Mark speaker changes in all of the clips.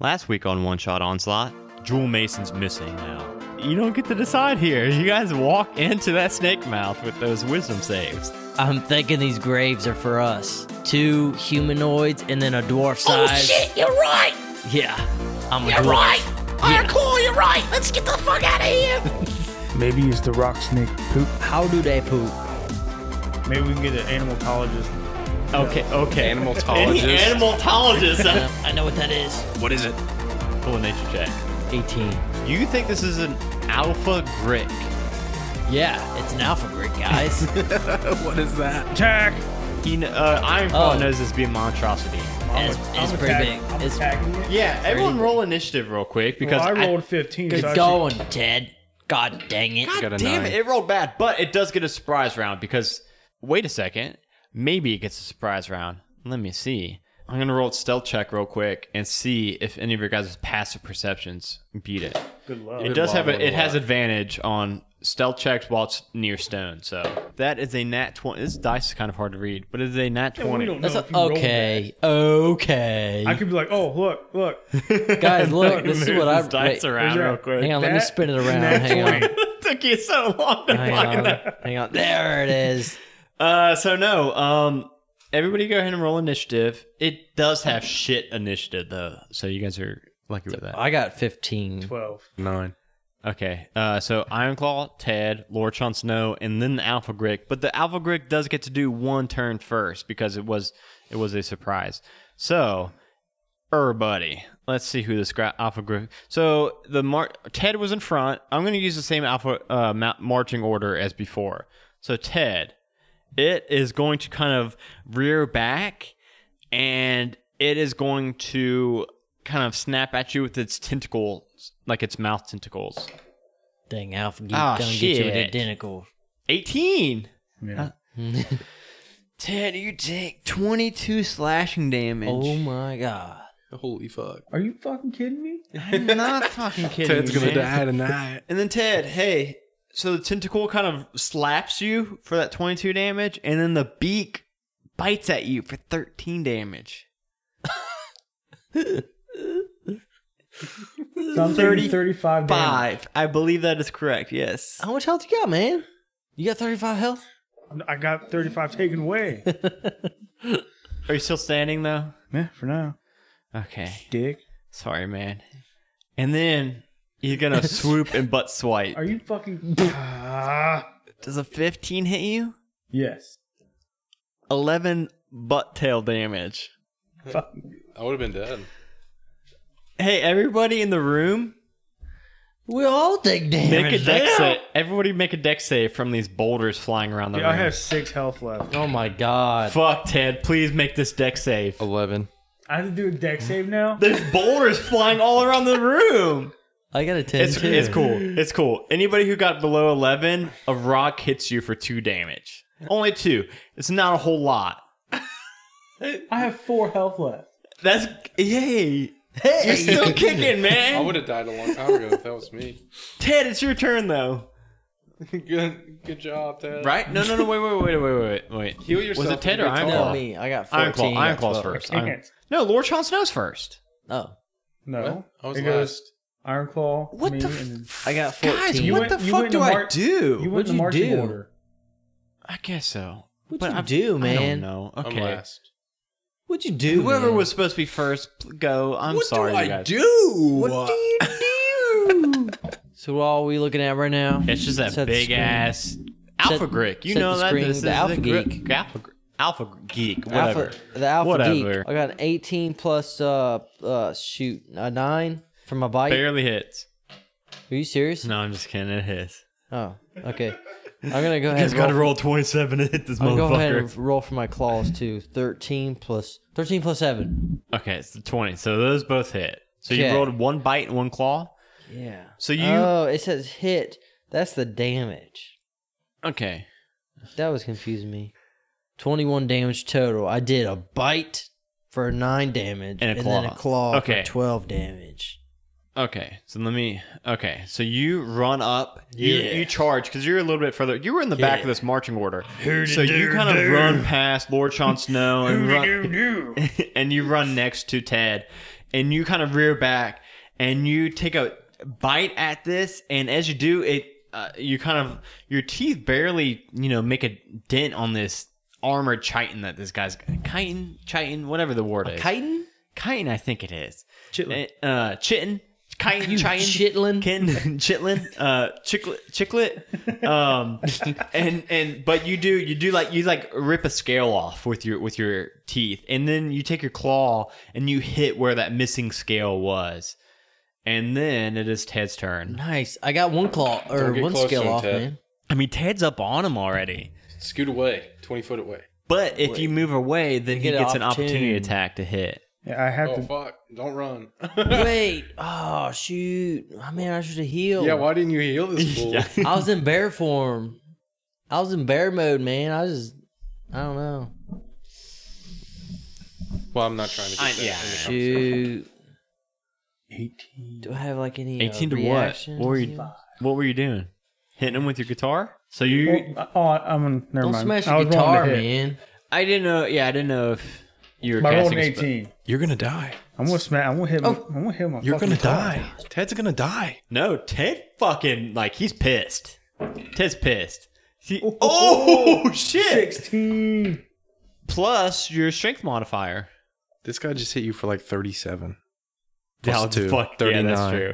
Speaker 1: Last week on One Shot Onslaught, Jewel Mason's missing now. You don't get to decide here. You guys walk into that snake mouth with those wisdom saves.
Speaker 2: I'm thinking these graves are for us. Two humanoids and then a dwarf
Speaker 3: Oh
Speaker 2: size.
Speaker 3: shit, you're right.
Speaker 2: Yeah, I'm a
Speaker 3: You're
Speaker 2: dwarf.
Speaker 3: right.
Speaker 2: Yeah.
Speaker 3: Alright, cool, you're right. Let's get the fuck out of here.
Speaker 4: Maybe use the rock snake poop.
Speaker 2: How do they poop?
Speaker 4: Maybe we can get an animalologist.
Speaker 1: Okay, okay. Any
Speaker 5: Animalologist.
Speaker 1: animalologist.
Speaker 2: Uh, I know what that is.
Speaker 5: what is it?
Speaker 1: Pull a nature check.
Speaker 2: 18.
Speaker 1: You think this is an alpha grick?
Speaker 2: Yeah, it's an alpha grid, guys.
Speaker 5: What is that?
Speaker 4: Attack!
Speaker 1: He, kn- uh, Iron Claw
Speaker 2: Oh.
Speaker 1: knows this to be a monstrosity.
Speaker 2: it's it's pretty
Speaker 4: attacking-
Speaker 2: big.
Speaker 4: I'm
Speaker 2: it's
Speaker 4: attacking it.
Speaker 1: Yeah, everyone roll initiative real quick because
Speaker 4: well, I
Speaker 1: I-
Speaker 4: rolled 15.
Speaker 2: good
Speaker 4: so I should-
Speaker 2: going, Ted. God dang it.
Speaker 5: Got a
Speaker 1: damn it,
Speaker 5: nine.
Speaker 1: it rolled bad, but it does get a surprise round because wait a second, maybe it gets a surprise round. Let me see. I'm gonna roll a stealth check real quick and see if any of your guys' passive perceptions beat it.
Speaker 4: Good luck.
Speaker 1: It does
Speaker 5: luck,
Speaker 1: have a,
Speaker 5: good
Speaker 1: it has
Speaker 5: luck.
Speaker 1: advantage on stealth checks while it's near stone. So that is a nat twenty. This dice is kind of hard to read, but it is a nat
Speaker 4: Yeah, well, we
Speaker 1: twenty.
Speaker 4: don't know
Speaker 2: That's a-
Speaker 4: if you rolled
Speaker 2: okay, okay.
Speaker 4: that. I could be like, oh, look, look.
Speaker 2: guys, look, this is
Speaker 1: Move
Speaker 2: what I...
Speaker 1: this dice
Speaker 2: wait,
Speaker 1: around
Speaker 4: Here's
Speaker 1: real
Speaker 4: your-
Speaker 1: quick.
Speaker 2: Hang on, let me
Speaker 4: That-
Speaker 2: spin it around.
Speaker 4: Nat
Speaker 2: Hang on.
Speaker 4: 20.
Speaker 1: Took you so long to
Speaker 2: Hang
Speaker 1: find
Speaker 2: on.
Speaker 1: that.
Speaker 2: Hang on. There it is.
Speaker 1: Uh, so no. Um, everybody go ahead and roll initiative. It does have shit initiative though, so you guys are lucky with that.
Speaker 2: I got 15.
Speaker 4: 12.
Speaker 5: Nine.
Speaker 1: Okay. Uh, so Ironclaw, Ted, Lord Chon Snow, and then the Alpha Grick. But the Alpha Grick does get to do one turn first because it was it was a surprise. So, er, buddy, let's see who this gra- Alpha Grick. So the Mar- Ted was in front. I'm going to use the same Alpha uh, ma- marching order as before. So Ted, it is going to kind of rear back and it is going to kind of snap at you with its tentacles, like its mouth tentacles.
Speaker 2: Dang, Alpha Geek
Speaker 1: Ah,
Speaker 2: gonna get you with
Speaker 1: shit.
Speaker 2: identical.
Speaker 1: 18!
Speaker 4: Yeah.
Speaker 1: Ted, you take 22 slashing damage.
Speaker 2: Oh my god.
Speaker 5: Holy fuck.
Speaker 4: Are you fucking kidding me?
Speaker 1: I'm not fucking kidding.
Speaker 5: Ted's
Speaker 1: you,
Speaker 5: gonna
Speaker 1: man.
Speaker 5: die tonight.
Speaker 1: And then Ted, hey, so the tentacle kind of slaps you for that 22 damage, and then the beak bites at you for 13 damage.
Speaker 4: So I'm
Speaker 1: 30
Speaker 4: taking 35 damage.
Speaker 1: Five. I believe that is correct, yes.
Speaker 2: How much health you got, man? You got 35 health?
Speaker 4: I got 35 taken away.
Speaker 1: Are you still standing, though?
Speaker 4: yeah, for now.
Speaker 1: Okay.
Speaker 4: Dick.
Speaker 1: Sorry, man. And then he's gonna swoop and butt swipe.
Speaker 4: Are you fucking. Ah.
Speaker 1: Does a 15 hit you?
Speaker 4: yes.
Speaker 1: 11 butt tail damage.
Speaker 4: Fuck.
Speaker 5: I would have been dead.
Speaker 1: Hey, everybody in the room,
Speaker 2: We all take damage.
Speaker 1: make a deck
Speaker 2: damn.
Speaker 1: save. Everybody make a deck save from these boulders flying around the
Speaker 4: Dude, I
Speaker 1: room.
Speaker 4: have six health left.
Speaker 2: Oh my god.
Speaker 1: Fuck, Ted. Please make this deck save.
Speaker 5: Eleven.
Speaker 4: I have to do a deck save now?
Speaker 1: There's boulders flying all around the room.
Speaker 2: I got a 10
Speaker 1: It's,
Speaker 2: too.
Speaker 1: it's cool. It's cool. Anybody who got below 11, a rock hits you for two damage. Only two. It's not a whole lot.
Speaker 4: I have four health left.
Speaker 1: That's yay. Hey, you're still kicking,
Speaker 5: I
Speaker 1: man.
Speaker 5: would have died a long time ago if that was me.
Speaker 1: Ted, it's your turn though.
Speaker 5: good, good job, Ted.
Speaker 1: Right? No, no, no. Wait, wait, wait, wait, wait, wait.
Speaker 5: Heal yourself
Speaker 1: Was it Ted
Speaker 5: if
Speaker 1: or
Speaker 5: you're
Speaker 1: Iron
Speaker 5: tall.
Speaker 1: Claw?
Speaker 2: No, me. I got 14.
Speaker 1: Iron Claw. Iron
Speaker 2: that's
Speaker 1: Claw's
Speaker 2: what-
Speaker 1: first.
Speaker 4: Can't.
Speaker 1: Iron- No, Lord Sean Snow's first.
Speaker 2: Oh.
Speaker 4: No.
Speaker 5: What? I was
Speaker 4: it goes
Speaker 5: last.
Speaker 4: Iron Claw.
Speaker 1: What
Speaker 4: me,
Speaker 1: the?
Speaker 4: and then-
Speaker 1: F-
Speaker 2: I got 14.
Speaker 1: Guys,
Speaker 4: You
Speaker 1: what
Speaker 4: went-
Speaker 1: the
Speaker 4: you
Speaker 1: fuck
Speaker 4: went to
Speaker 1: do I
Speaker 4: Mar-
Speaker 1: do?
Speaker 4: You went
Speaker 2: What'd
Speaker 4: to
Speaker 2: you
Speaker 4: marching
Speaker 2: do?
Speaker 4: order.
Speaker 1: I guess so.
Speaker 2: What'd
Speaker 1: But
Speaker 2: you
Speaker 1: I-
Speaker 2: do,
Speaker 1: I
Speaker 2: man?
Speaker 1: don't know.
Speaker 5: I'm
Speaker 1: Okay.
Speaker 5: last.
Speaker 2: What'd you do?
Speaker 1: Whoever
Speaker 2: man?
Speaker 1: was supposed to be first, pl- go. I'm sorry, you guys.
Speaker 5: do?
Speaker 2: What do you do? so, what are we looking at right now?
Speaker 1: It's just that
Speaker 2: Set the
Speaker 1: big
Speaker 2: screen.
Speaker 1: ass Alpha
Speaker 2: Set-
Speaker 1: Grick. You
Speaker 2: set
Speaker 1: know
Speaker 2: the
Speaker 1: that
Speaker 2: screen,
Speaker 1: this
Speaker 2: the
Speaker 1: is
Speaker 2: Alpha
Speaker 1: a Grick-
Speaker 2: Geek.
Speaker 1: Alpha, Gr- Alpha Geek.
Speaker 2: Alpha-
Speaker 1: Whatever.
Speaker 2: the Alpha
Speaker 1: Whatever.
Speaker 2: Geek. I got an 18 plus, uh, uh, shoot, a 9 from my bite.
Speaker 1: Barely hits.
Speaker 2: Are you serious?
Speaker 1: No, I'm just kidding. It hits.
Speaker 2: Oh, okay. I'm gonna
Speaker 1: You
Speaker 2: go ahead.
Speaker 1: guys
Speaker 2: And
Speaker 1: got
Speaker 2: roll,
Speaker 1: to roll 27 to hit this
Speaker 2: I'll go ahead
Speaker 1: motherfucker.
Speaker 2: and roll for my claws too. Thirteen plus thirteen plus seven.
Speaker 1: Okay, it's the 20. So those both hit. So you
Speaker 2: Okay.
Speaker 1: rolled one bite and one claw.
Speaker 2: Yeah.
Speaker 1: So you.
Speaker 2: Oh, it says hit. That's the damage.
Speaker 1: okay.
Speaker 2: That was confusing me. Twenty-one damage total. I did a bite for nine damage
Speaker 1: And a
Speaker 2: then
Speaker 1: claw.
Speaker 2: a claw
Speaker 1: Okay.
Speaker 2: for twelve damage.
Speaker 1: Okay. So let me. Okay. So you run up. You,
Speaker 2: Yeah.
Speaker 1: you charge because you're a little bit further. You were in the back of
Speaker 2: Yeah.
Speaker 1: this marching order. So you kind of run past Lord Sean Snow and run, and you run next to Ted. and you kind of rear back and you take a bite at this, and as you do it, uh, you kind of your teeth barely you know make a dent on this armored chitin that this guy's chitin chitin whatever the word is
Speaker 2: Chitin?
Speaker 1: chitin I think it is
Speaker 2: Chitlin.
Speaker 1: Eh, uh chitin chitin
Speaker 2: You
Speaker 1: chitin
Speaker 2: chitlin.
Speaker 1: Ken Chitlin, uh, Chicklet, Chicklet, um, and and but you do you do like you like rip a scale off with your with your teeth, and then you take your claw and you hit where that missing scale was, and then it is Ted's turn.
Speaker 2: Nice. I got one claw or
Speaker 5: Don't get
Speaker 2: one
Speaker 5: close
Speaker 2: scale
Speaker 5: to him,
Speaker 2: off,
Speaker 5: Ted.
Speaker 2: man.
Speaker 1: I mean, Ted's up on him already,
Speaker 5: Scoot away, twenty foot away.
Speaker 1: but if you move away, then he
Speaker 2: get
Speaker 1: gets
Speaker 2: an
Speaker 1: an opportunity
Speaker 2: opportunity.
Speaker 1: attack to hit.
Speaker 4: Yeah, I have
Speaker 5: Oh
Speaker 4: to.
Speaker 5: fuck! Don't run.
Speaker 2: Wait. Oh shoot. I mean, I should have healed.
Speaker 5: yeah, why didn't you heal this fool?
Speaker 1: Yeah.
Speaker 2: I was in bear form. I was in bear mode, man. I just, I don't know.
Speaker 5: Well, I'm not trying to. Get
Speaker 1: I-
Speaker 5: that
Speaker 1: yeah,
Speaker 5: in the
Speaker 1: yeah.
Speaker 2: Shoot.
Speaker 4: 18.
Speaker 2: Do I have like any?
Speaker 1: Eighteen
Speaker 2: uh,
Speaker 1: to what?
Speaker 2: reactions?
Speaker 1: What were you? What were you doing? Hitting him with your guitar? So you
Speaker 4: Well, oh, I'm on. Never
Speaker 2: Don't
Speaker 4: mind.
Speaker 2: smash
Speaker 4: I
Speaker 2: the
Speaker 4: was wrong to
Speaker 2: guitar,
Speaker 4: hit.
Speaker 2: man.
Speaker 1: I didn't know. Yeah, I didn't know if you were
Speaker 4: My rolled
Speaker 1: casting
Speaker 4: an
Speaker 1: a spell.
Speaker 4: 18.
Speaker 6: You're gonna die.
Speaker 4: I'm gonna smash. I'm gonna hit. My,
Speaker 2: Oh.
Speaker 4: I'm gonna hit my.
Speaker 6: You're
Speaker 4: fucking
Speaker 6: gonna
Speaker 4: guitar.
Speaker 6: die. Ted's gonna die.
Speaker 1: No, Ted fucking like he's pissed. Ted's pissed. He- oh shit!
Speaker 4: 16.
Speaker 1: Plus your strength modifier.
Speaker 6: This guy just hit you for like 37.
Speaker 1: Yeah,
Speaker 6: Plus two,
Speaker 1: fuck, Yeah, that's
Speaker 6: 39.
Speaker 1: true.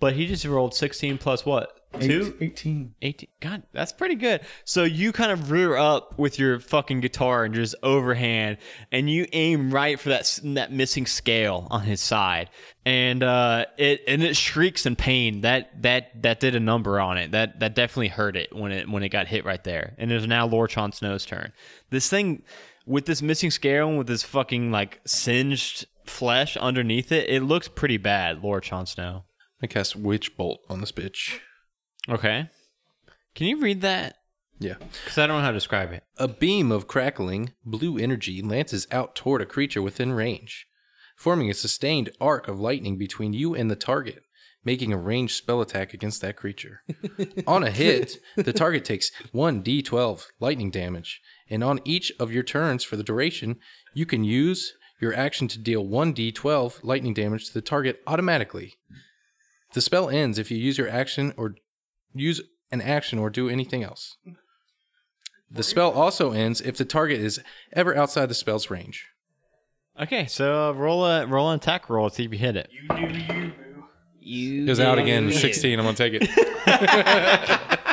Speaker 1: But he just rolled sixteen plus what? Two?
Speaker 4: 18.
Speaker 1: 18. God, that's pretty good. So you kind of rear up with your fucking guitar and just overhand, and you aim right for that s- that missing scale on his side, and uh, it and it shrieks in pain. That that that did a number on it. That that definitely hurt it when it when it got hit right there. And it is now Lorchon Snow's turn. This thing with this missing scale and with this fucking like singed flesh underneath it, it looks pretty bad. Lorchon Snow.
Speaker 6: I cast Witch Bolt on this bitch.
Speaker 1: Okay, can you read that?
Speaker 6: Yeah.
Speaker 1: Because I don't know how to describe it.
Speaker 6: A beam of crackling blue energy lances out toward a creature within range, forming a sustained arc of lightning between you and the target, making a ranged spell attack against that creature. on a hit, the target takes 1d12 lightning damage, and on each of your turns for the duration, you can use your action to deal 1d12 lightning damage to the target automatically. The spell ends if you use your action or use an action or do anything else. The spell also ends if the target is ever outside the spell's range.
Speaker 1: Okay, so uh, roll a roll an attack roll to see if you hit it.
Speaker 2: You.
Speaker 6: It was out again. 16. I'm going to take it.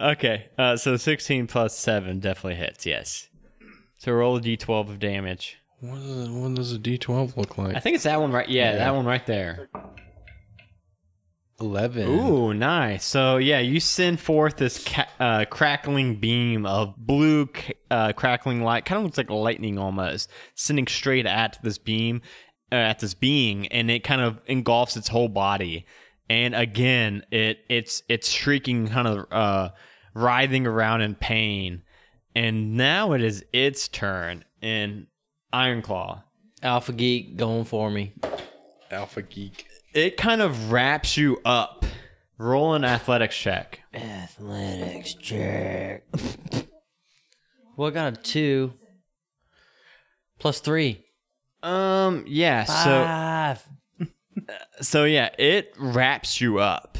Speaker 1: okay, uh, so sixteen plus seven definitely hits. Yes. So roll a d12 of damage.
Speaker 6: What does, what does a d12 look
Speaker 1: I
Speaker 6: like?
Speaker 1: think it's that one right. Yeah, that one right there.
Speaker 6: 11.
Speaker 1: Ooh, nice. So yeah, you send forth this ca- uh, crackling beam of blue c- uh, crackling light. Kind of looks like lightning almost, sending straight at this beam, uh, at this being, and it kind of engulfs its whole body. And again, it it's it's shrieking, kind of uh, writhing around in pain. And now it is its turn in Iron Claw.
Speaker 2: Alpha geek going for me.
Speaker 5: Alpha geek.
Speaker 1: It kind of wraps you up. Roll an athletics check.
Speaker 2: Athletics check. well, I got a two. Plus three.
Speaker 1: Um. Yeah.
Speaker 2: Five.
Speaker 1: So. So yeah, it wraps you up,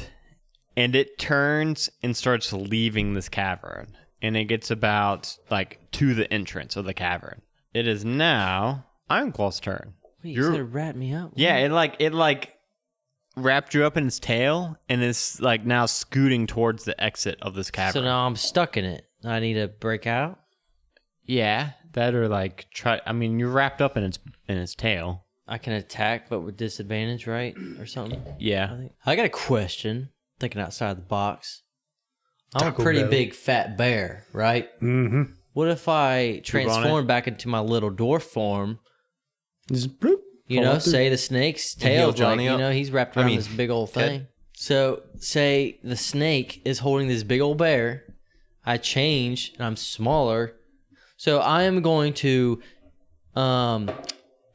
Speaker 1: and it turns and starts leaving this cavern, and it gets about like to the entrance of the cavern. It is now Ironclaw's turn.
Speaker 2: Wait, you
Speaker 1: You're-
Speaker 2: said it wrapped me up.
Speaker 1: Yeah. It like it like wrapped you up in its tail, and it's like now scooting towards the exit of this cavern.
Speaker 2: So now I'm stuck in it. I need to break out.
Speaker 1: yeah, that or like try. I mean, you're wrapped up in its in its tail.
Speaker 2: I can attack, but with disadvantage, right, or something. I
Speaker 1: Yeah.
Speaker 2: think. I got a question. Thinking outside the box. I'm
Speaker 4: Taco
Speaker 2: a pretty
Speaker 4: Bell.
Speaker 2: big fat bear, right?
Speaker 4: Mm-hmm.
Speaker 2: What if I transform
Speaker 1: Bubonic?
Speaker 2: back into my little dwarf form?
Speaker 4: Just bloop.
Speaker 2: You
Speaker 4: Fall
Speaker 2: know,
Speaker 4: through.
Speaker 2: say the snake's
Speaker 6: heal
Speaker 2: tail, like,
Speaker 6: Johnny
Speaker 2: you
Speaker 6: up.
Speaker 2: know, he's wrapped around
Speaker 6: mean,
Speaker 2: this big old
Speaker 6: Ted.
Speaker 2: thing. So, say the snake is holding this big old bear. I change and I'm smaller. So, I am going to um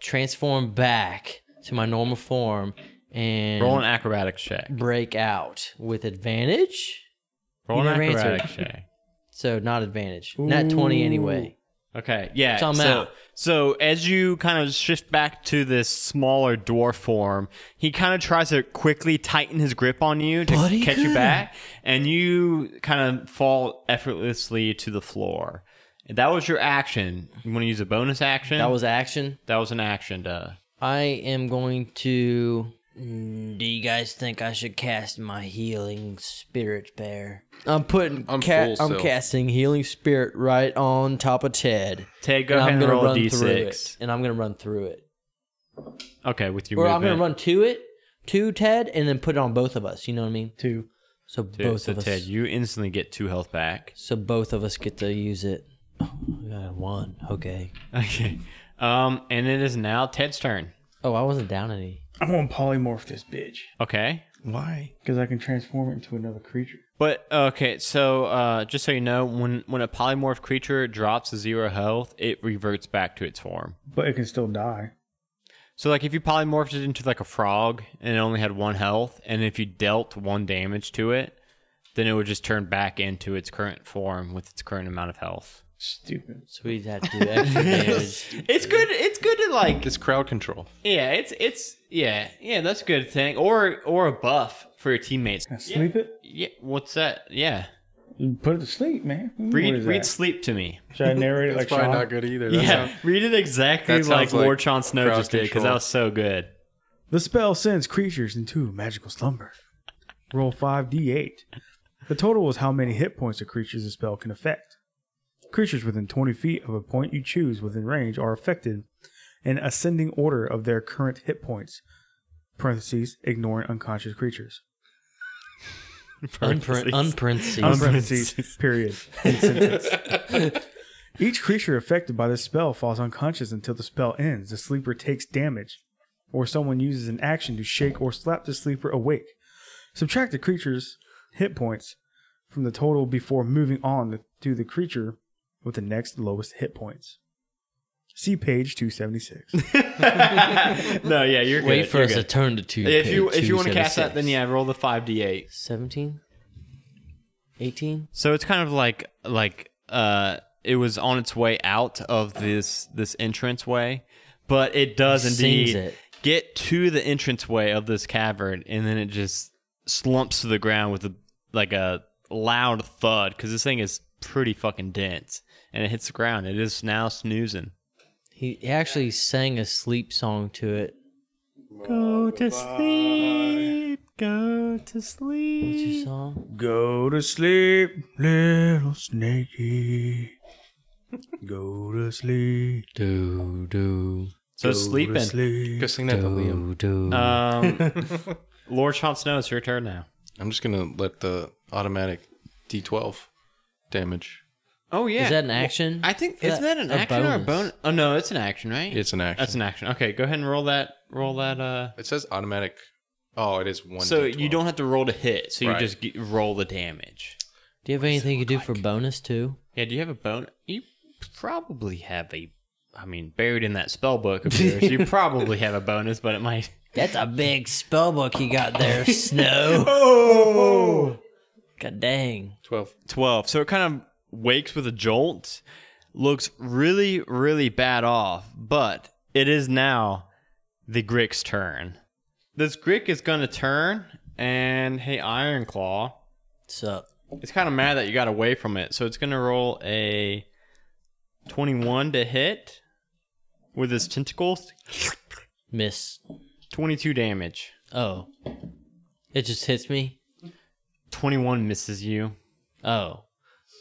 Speaker 2: transform back to my normal form and
Speaker 1: Roll an acrobatics check.
Speaker 2: break out with advantage.
Speaker 1: Roll an
Speaker 2: never answered.
Speaker 1: acrobatics check.
Speaker 2: So, not advantage. Not 20 anyway.
Speaker 1: Okay, yeah.
Speaker 2: So I'm
Speaker 1: so,
Speaker 2: out.
Speaker 1: so as you kind of shift back to this smaller dwarf form, he kind of tries to quickly tighten his grip on you to
Speaker 2: But he
Speaker 1: catch you
Speaker 2: couldn't.
Speaker 1: back, and you kind of fall effortlessly to the floor. That was your action. You want to use a bonus action?
Speaker 2: That was action.
Speaker 1: that was an action. Duh.
Speaker 2: I am going to. Mm, Do you guys think I should cast my healing spirit bear? I'm putting.
Speaker 6: I'm
Speaker 2: I'm,
Speaker 6: full
Speaker 2: I'm
Speaker 6: still.
Speaker 2: casting healing spirit right on top of Ted.
Speaker 1: Ted, go
Speaker 2: And
Speaker 1: ahead
Speaker 2: I'm
Speaker 1: and
Speaker 2: gonna
Speaker 1: roll
Speaker 2: run
Speaker 1: a
Speaker 2: through
Speaker 1: d6.
Speaker 2: it. And I'm gonna run through it.
Speaker 1: Okay, with your
Speaker 2: Or I'm
Speaker 1: movement.
Speaker 2: gonna run to it, to Ted, and then put it on both of us. You know what I mean?
Speaker 4: Two.
Speaker 2: So
Speaker 1: Dude,
Speaker 2: both
Speaker 1: so
Speaker 2: of us.
Speaker 1: Ted, you instantly get two health back.
Speaker 2: So both of us get to use it. Oh, I got one. Okay.
Speaker 1: Okay. Um, and it is now Ted's turn.
Speaker 2: Oh, I wasn't down any.
Speaker 4: I'm gonna polymorph this bitch
Speaker 1: Okay.
Speaker 6: Why?
Speaker 4: because I can transform it into another creature.
Speaker 1: But okay, so uh, just so you know, when when a polymorph creature drops to zero health, it reverts back to its form.
Speaker 4: But it can still die.
Speaker 1: So like if you polymorphed it into like a frog and it only had one health, and if you dealt one damage to it, then it would just turn back into its current form with its current amount of health.
Speaker 4: Stupid.
Speaker 2: So we had to do extra damage.
Speaker 1: It's good. It's good to like.
Speaker 6: It's crowd control.
Speaker 1: Yeah. It's it's yeah yeah. That's a good thing. Or or a buff for your teammates.
Speaker 4: Can I sleep it?
Speaker 1: Yeah. What's that? Yeah.
Speaker 4: Put it to sleep, man. What
Speaker 1: Read
Speaker 4: is
Speaker 1: read
Speaker 4: that?
Speaker 1: sleep to me.
Speaker 4: Should I narrate it
Speaker 6: That's
Speaker 4: like
Speaker 6: probably
Speaker 4: Sean?
Speaker 6: not good either. That's
Speaker 1: Yeah,
Speaker 6: how-
Speaker 1: read it exactly
Speaker 6: That
Speaker 1: like
Speaker 6: sounds
Speaker 1: Lord
Speaker 6: like
Speaker 1: Chon Snow
Speaker 6: crowd
Speaker 1: just did because that
Speaker 6: control.
Speaker 1: was so good.
Speaker 4: The spell sends creatures into magical slumber. Roll 5d8. The total is how many hit points a creature's spell can affect. Creatures within 20 feet of a point you choose within range are affected in ascending order of their current hit points. Parentheses, ignoring unconscious creatures.
Speaker 2: Unprint, unprint
Speaker 4: Um, parentheses, period. End sentence. Each creature affected by this spell falls unconscious until the spell ends. The sleeper takes damage, or someone uses an action to shake or slap the sleeper awake. Subtract the creature's hit points from the total before moving on to the creature with the next lowest hit points. See page 276.
Speaker 1: no, yeah, you're good.
Speaker 2: Wait for
Speaker 1: you're
Speaker 2: us to
Speaker 1: good.
Speaker 2: turn to two.
Speaker 1: if you if you want to cast that, then yeah, roll the five d eight.
Speaker 2: 17? 18?
Speaker 1: So it's kind of like like uh, it was on its way out of this this entrance way, but it does
Speaker 2: It sings
Speaker 1: indeed
Speaker 2: it.
Speaker 1: get to the entrance way of this cavern, and then it just slumps to the ground with a like a loud thud because this thing is pretty fucking dense, and it hits the ground. It is now snoozing.
Speaker 2: He, he actually sang a sleep song to it.
Speaker 1: Go to sleep. Go to
Speaker 2: What's
Speaker 1: sleep.
Speaker 2: your song?
Speaker 4: Go to sleep, little snakey. Go to sleep.
Speaker 2: Do, do,
Speaker 1: So
Speaker 4: go to
Speaker 1: sleeping.
Speaker 4: sleep.
Speaker 6: Go sing that to Liam.
Speaker 2: do, do.
Speaker 1: Um, Lord Sean Snow, it's your turn now.
Speaker 6: I'm just gonna let the automatic D12 damage.
Speaker 1: Oh yeah.
Speaker 2: Is that an action?
Speaker 1: I think
Speaker 2: For
Speaker 1: isn't that an action or a bonus? Oh no, it's an action, right?
Speaker 6: It's an action.
Speaker 1: That's an action. Okay, go ahead and roll that. Roll that. Uh.
Speaker 6: It says automatic. Oh, it is one.
Speaker 1: So
Speaker 6: D12.
Speaker 1: you don't have to roll to hit. So you
Speaker 6: Right.
Speaker 1: just get, roll the damage.
Speaker 2: Do you have anything you do for bonus too?
Speaker 1: Yeah. Do you have a bone? You probably have a. I mean, buried in that spell book of yours, you probably have a bonus, but it might.
Speaker 2: That's a big spell book you got there, Snow.
Speaker 1: Oh!
Speaker 2: God dang.
Speaker 6: 12.
Speaker 1: 12. So it kind of wakes with a jolt, looks really, really bad off, but it is now the Grick's turn. This Grick is going to turn, and hey, Iron Claw,
Speaker 2: What's up?
Speaker 1: it's kind of mad that you got away from it. So it's going to roll a 21 to hit with his tentacles,
Speaker 2: Miss.
Speaker 1: 22 damage.
Speaker 2: Oh. It just hits me?
Speaker 1: 21 misses you.
Speaker 2: Oh.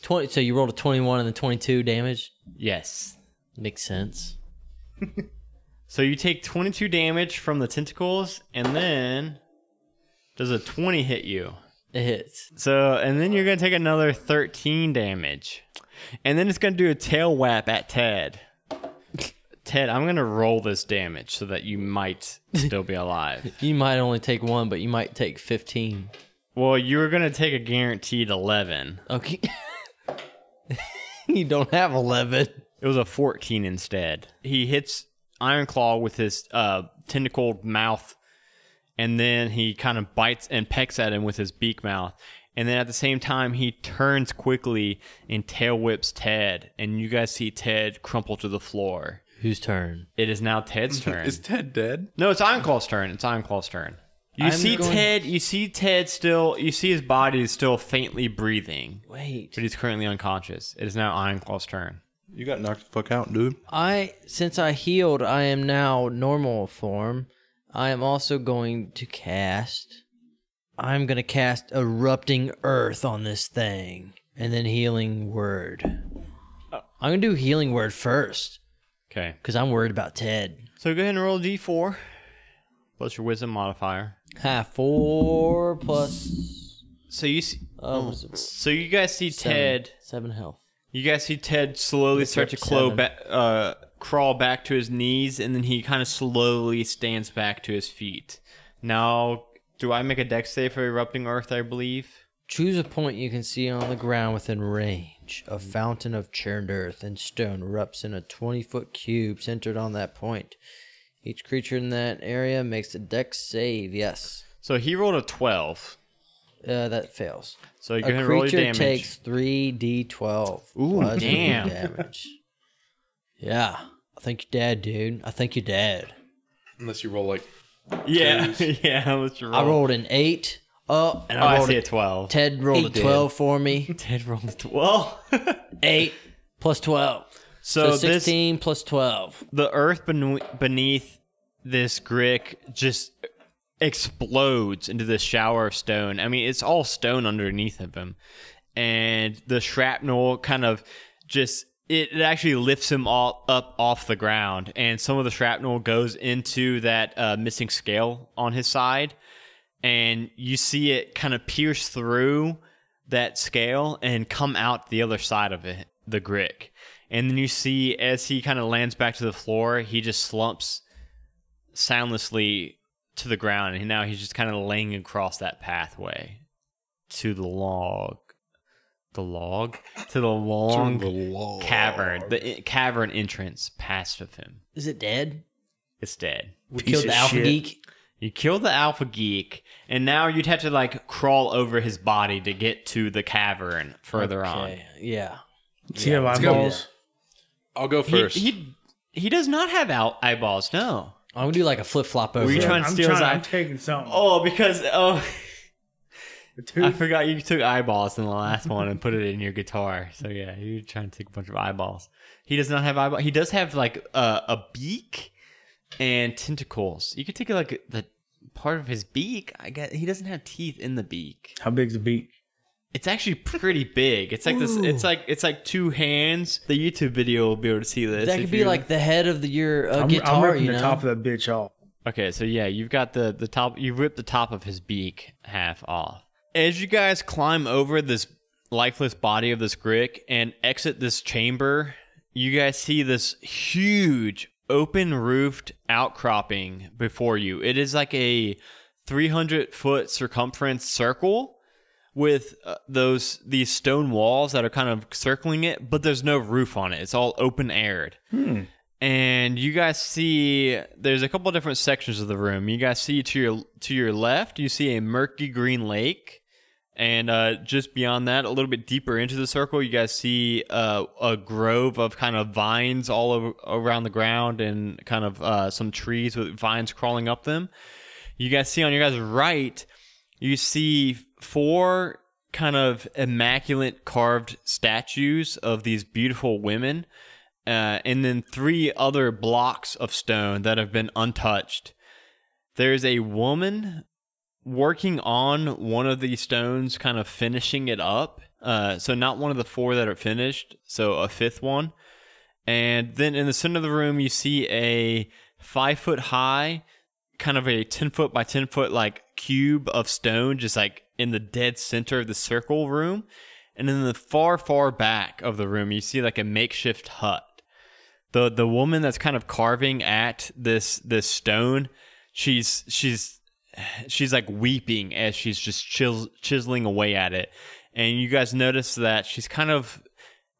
Speaker 2: 20, so you rolled a 21 and the 22 damage?
Speaker 1: Yes.
Speaker 2: Makes sense.
Speaker 1: So you take 22 damage from the tentacles, and then does a 20 hit you?
Speaker 2: It hits.
Speaker 1: So, and then you're going to take another 13 damage. And then it's going to do a tail whap at Ted. Ted, I'm going to roll this damage so that you might still be alive.
Speaker 2: You might only take one, but you might take 15.
Speaker 1: well, you're going to take a guaranteed 11.
Speaker 2: Okay. you don't have 11.
Speaker 1: It was a 14 instead. He hits Iron Claw with his uh, tentacled mouth, and then he kind of bites and pecks at him with his beak mouth. And then at the same time, he turns quickly and tail whips Ted. And you guys see Ted crumple to the floor.
Speaker 2: Whose turn?
Speaker 1: It is now Ted's turn.
Speaker 6: Is Ted dead?
Speaker 1: No, it's Ironclaw's turn. It's Ironclaw's turn. You
Speaker 2: I'm
Speaker 1: see
Speaker 2: going-
Speaker 1: Ted. You see Ted still. You see his body is still faintly breathing,
Speaker 2: Wait.
Speaker 1: but he's currently unconscious. It is now Ironclaw's turn.
Speaker 6: You got knocked the fuck out, dude.
Speaker 2: I since I healed, I am now normal form. I am also going to cast. I'm going to cast erupting earth on this thing, and then healing word. I'm going to do healing word first
Speaker 1: Okay,
Speaker 2: because I'm worried about Ted.
Speaker 1: so go ahead and roll a d4 plus your wisdom modifier.
Speaker 2: Ha, four plus.
Speaker 1: So you see,
Speaker 2: Uh, what is it?
Speaker 1: so you guys see
Speaker 2: Seven.
Speaker 1: Ted.
Speaker 2: Seven health.
Speaker 1: You guys see Ted slowly start to
Speaker 2: up
Speaker 1: claw
Speaker 2: seven.
Speaker 1: back, uh, crawl back to his knees, and then he kind of slowly stands back to his feet. Now, do I make a dex save for erupting earth? I believe.
Speaker 2: Choose a point you can see on the ground within range. A fountain of churned earth and stone erupts in a 20 foot cube centered on that point. Each creature in that area makes a dex save. Yes.
Speaker 1: So he rolled a 12.
Speaker 2: Uh, that fails.
Speaker 1: So you go ahead
Speaker 2: A
Speaker 1: and roll your
Speaker 2: creature
Speaker 1: damage.
Speaker 2: takes 3d12.
Speaker 1: Ooh,
Speaker 2: plus
Speaker 1: damn.
Speaker 2: Damage. Yeah. I think you're dead, dude. I think you're dead.
Speaker 5: Unless you roll like
Speaker 1: yeah, yeah. Let's roll.
Speaker 2: I rolled an 8. Oh, and
Speaker 1: Oh,
Speaker 2: I
Speaker 1: I
Speaker 2: rolled
Speaker 1: see
Speaker 2: a
Speaker 1: a 12.
Speaker 2: Ted rolled
Speaker 6: He
Speaker 2: a
Speaker 6: did.
Speaker 2: 12 for me.
Speaker 1: Ted rolled a 12.
Speaker 2: 8 plus 12.
Speaker 1: so
Speaker 2: so
Speaker 1: this
Speaker 2: 16 plus 12.
Speaker 1: the earth bene- beneath this grick just explodes into this shower of stone. I mean, it's all stone underneath of him. And the shrapnel kind of just it, it actually lifts him all up off the ground and some of the shrapnel goes into that uh, missing scale on his side and you see it kind of pierce through that scale and come out the other side of it, the grick. And then you see as he kind of lands back to the floor, he just slumps soundlessly to the ground, and now he's just kind of laying across that pathway to the log, the log, to the long cavern, the i- cavern entrance past of him.
Speaker 2: Is it dead?
Speaker 1: It's dead.
Speaker 2: We
Speaker 4: Piece
Speaker 2: killed
Speaker 4: of
Speaker 2: the alpha
Speaker 4: shit.
Speaker 2: geek.
Speaker 1: You killed the alpha geek, and now you'd have to like crawl over his body to get to the cavern further on.
Speaker 2: Okay, Yeah.
Speaker 4: Do you have
Speaker 5: let's go.
Speaker 4: eyeballs?
Speaker 6: I'll go
Speaker 1: He,
Speaker 6: first.
Speaker 1: he he does not have out eyeballs. No.
Speaker 2: I'm gonna do like a flip flop over.
Speaker 1: Were you
Speaker 2: it.
Speaker 1: trying to
Speaker 4: I'm
Speaker 1: steal his
Speaker 4: trying- I'm
Speaker 1: eye-
Speaker 4: taking something.
Speaker 1: Oh, because oh,
Speaker 4: The
Speaker 1: I
Speaker 4: tooth.
Speaker 1: forgot you took eyeballs in the last one and put it in your guitar. So yeah, you're trying to take a bunch of eyeballs. He does not have eyeball. He does have like a, a beak and tentacles. You could take like the part of his beak. I guess he doesn't have teeth in the beak.
Speaker 4: How big's the beak?
Speaker 1: It's actually pretty big. It's like this. It's like it's like two hands. The YouTube video will be able to see this.
Speaker 2: that could
Speaker 1: if
Speaker 2: be
Speaker 1: you-
Speaker 2: like the head of the, your uh,
Speaker 4: I'm,
Speaker 2: guitar.
Speaker 4: I'm ripping
Speaker 2: you know?
Speaker 4: the top of that bitch off.
Speaker 1: Okay, so yeah, you've got the the top. You ripped the top of his beak half off. As you guys climb over this lifeless body of this grick and exit this chamber, you guys see this huge open roofed outcropping before you. It is like a 300 foot circumference circle with uh, those these stone walls that are kind of circling it, but there's no roof on it. It's all open aired and you guys see there's a couple different sections of the room. You guys see to your to your left, you see a murky green lake, and uh, just beyond that, a little bit deeper into the circle, you guys see uh, a grove of kind of vines all over, around the ground, and kind of uh, some trees with vines crawling up them. You guys see on your guys' right, you see four kind of immaculate carved statues of these beautiful women uh, and then three other blocks of stone that have been untouched. There's a woman working on one of these stones, kind of finishing it up. Uh, so, not one of the four that are finished, so a fifth one. And then in the center of the room, you see a five foot high, kind of a 10 foot by 10 foot like cube of stone, just like in the dead center of the circle room. And in the far, far back of the room, you see like a makeshift hut. The the woman that's kind of carving at this this stone, she's she's she's like weeping as she's just chis- chiseling away at it. And you guys notice that she's kind of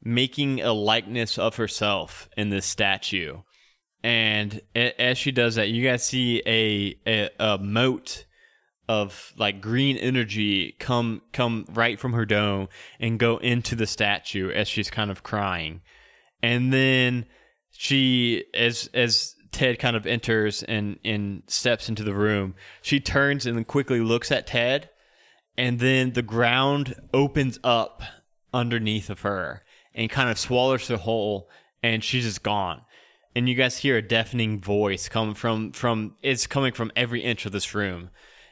Speaker 1: making a likeness of herself in this statue. And a- as she does that, you guys see a a, a moat of like green energy come come right from her dome and go into the statue as she's kind of crying. And then she as as Ted kind of enters and and steps into the room, she turns and then quickly looks at Ted and then the ground opens up underneath of her and kind of swallows her whole and she's just gone and you guys hear a deafening voice come from from it's coming from every inch of this room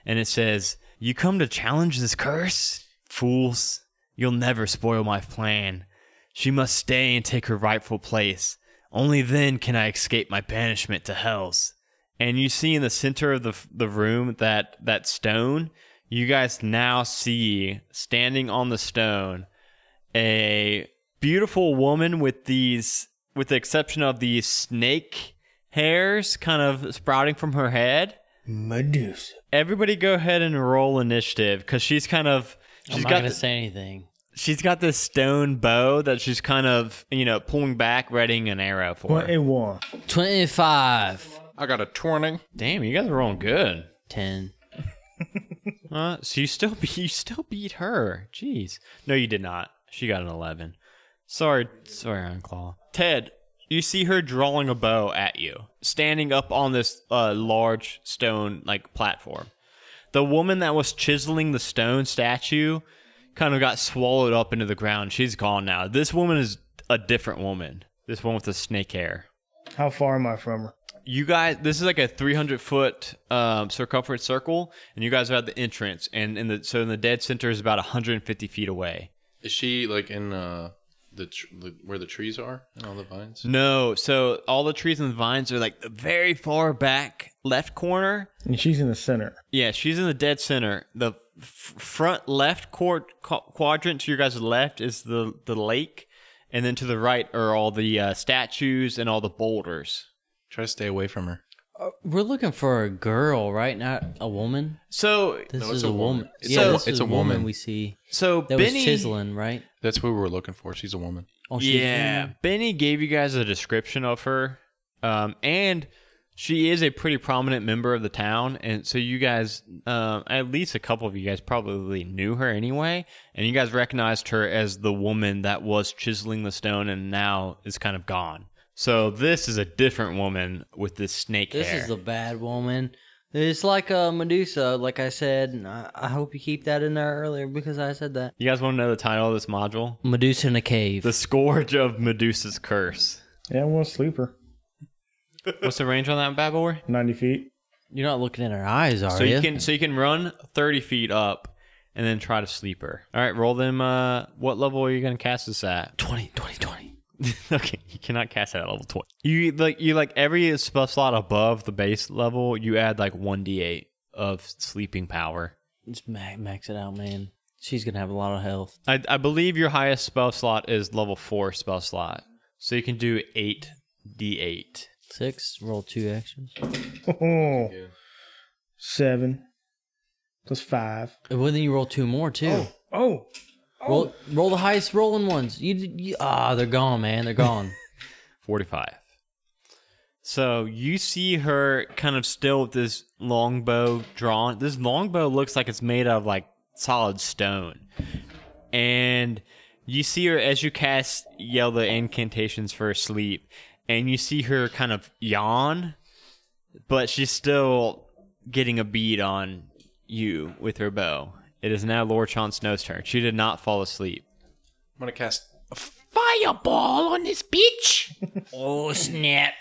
Speaker 1: and it says you come to challenge this curse fools you'll never spoil my plan she must stay and take her rightful place only then can i escape my banishment to hells and you see in the center of the the room that that stone you guys now see standing on the stone a beautiful woman with these with the exception of these snake hairs kind of sprouting from her head
Speaker 4: Medusa.
Speaker 1: everybody go ahead and roll initiative cuz she's kind of
Speaker 2: I'm
Speaker 1: she's
Speaker 2: not
Speaker 1: got
Speaker 2: gonna
Speaker 1: th-
Speaker 2: say anything.
Speaker 1: she's got this stone bow that she's kind of you know pulling back readying an arrow for
Speaker 4: What a war.
Speaker 2: Twenty-five.
Speaker 6: I got a twirling.
Speaker 1: damn you guys are rolling good
Speaker 2: Ten.
Speaker 1: Uh, so you still be, you still beat her. Jeez. No, you did not. She got an eleven. Sorry, sorry, Unclaw. Ted, you see her drawing a bow at you, standing up on this uh, large stone like platform. The woman that was chiseling the stone statue kind of got swallowed up into the ground. She's gone now. This woman is a different woman. This one with the snake hair
Speaker 4: How far am I from her?
Speaker 1: you guys this is like a 300 foot um, circumference circle and you guys are at the entrance and in the so in the dead center is about 150 feet away
Speaker 6: Is she like in uh the, tr- the where the trees are and all the vines?
Speaker 1: no so all the trees and vines are like the very far back left corner
Speaker 4: And she's in the center.
Speaker 1: yeah she's in the dead center the f- front left quad- quadrant to your guys left is the the lake and then to the right are all the uh, statues and all the boulders
Speaker 6: Try to stay away from her.
Speaker 2: We're looking for a girl, right? Not a woman.
Speaker 1: so
Speaker 2: This
Speaker 6: No, it's
Speaker 2: is
Speaker 6: a
Speaker 2: a,
Speaker 6: woman.
Speaker 2: woman.
Speaker 6: It's
Speaker 2: yeah,
Speaker 1: a-
Speaker 2: this
Speaker 6: it's
Speaker 2: is
Speaker 6: a
Speaker 2: a woman,
Speaker 6: woman.
Speaker 2: we see
Speaker 1: so
Speaker 2: that
Speaker 1: benny
Speaker 2: was chiseling, right?
Speaker 6: That's who we're looking for. She's a woman.
Speaker 2: Oh, she's a
Speaker 1: Yeah,
Speaker 2: woman.
Speaker 1: Benny gave you guys a description of her, um, and she is a pretty prominent member of the town, and so you guys, um, at least a couple of you guys, probably knew her anyway, and you guys recognized her as the woman that was chiseling the stone and now is kind of gone. So this is a different woman with this snake
Speaker 2: This
Speaker 1: hair.
Speaker 2: is a bad woman. It's like a Medusa, like I said. and I, I hope you keep that in there earlier because I said that.
Speaker 1: you guys want to know the title of this module?
Speaker 2: Medusa in a cave.
Speaker 1: The Scourge of Medusa's Curse.
Speaker 4: Yeah, we'll sleep her.
Speaker 1: What's the range on that bad boy?
Speaker 4: 90 feet.
Speaker 2: You're not looking in her eyes, are
Speaker 1: So
Speaker 2: you?
Speaker 1: you can so you can run thirty feet up and then try to sleep her. All right, roll them. Uh, what level are you gonna cast this at?
Speaker 2: 20, 20, 20.
Speaker 1: okay, you cannot cast that at level twenty. You like you like every spell slot above the base level, you add like one d eight of sleeping power.
Speaker 2: Just max, max it out, man. She's gonna have a lot of health.
Speaker 1: I, I believe your highest spell slot is level four spell slot, so you can do eight d eight.
Speaker 2: Six, roll two actions.
Speaker 4: Oh, seven plus five.
Speaker 2: Well, then you roll two more too.
Speaker 4: Oh,
Speaker 2: Roll, roll the highest rolling ones. You, you ah, they're gone, man. They're gone.
Speaker 1: 45. So you see her kind of still with this longbow drawn. This longbow looks like it's made out of like solid stone. And you see her as you cast yell the incantations for sleep. And you see her kind of yawn, but she's still getting a bead on you with her bow. It is now Lord Sean Snow's turn. She did not fall asleep.
Speaker 6: I'm gonna cast.
Speaker 3: Fireball on this bitch.
Speaker 2: oh snap!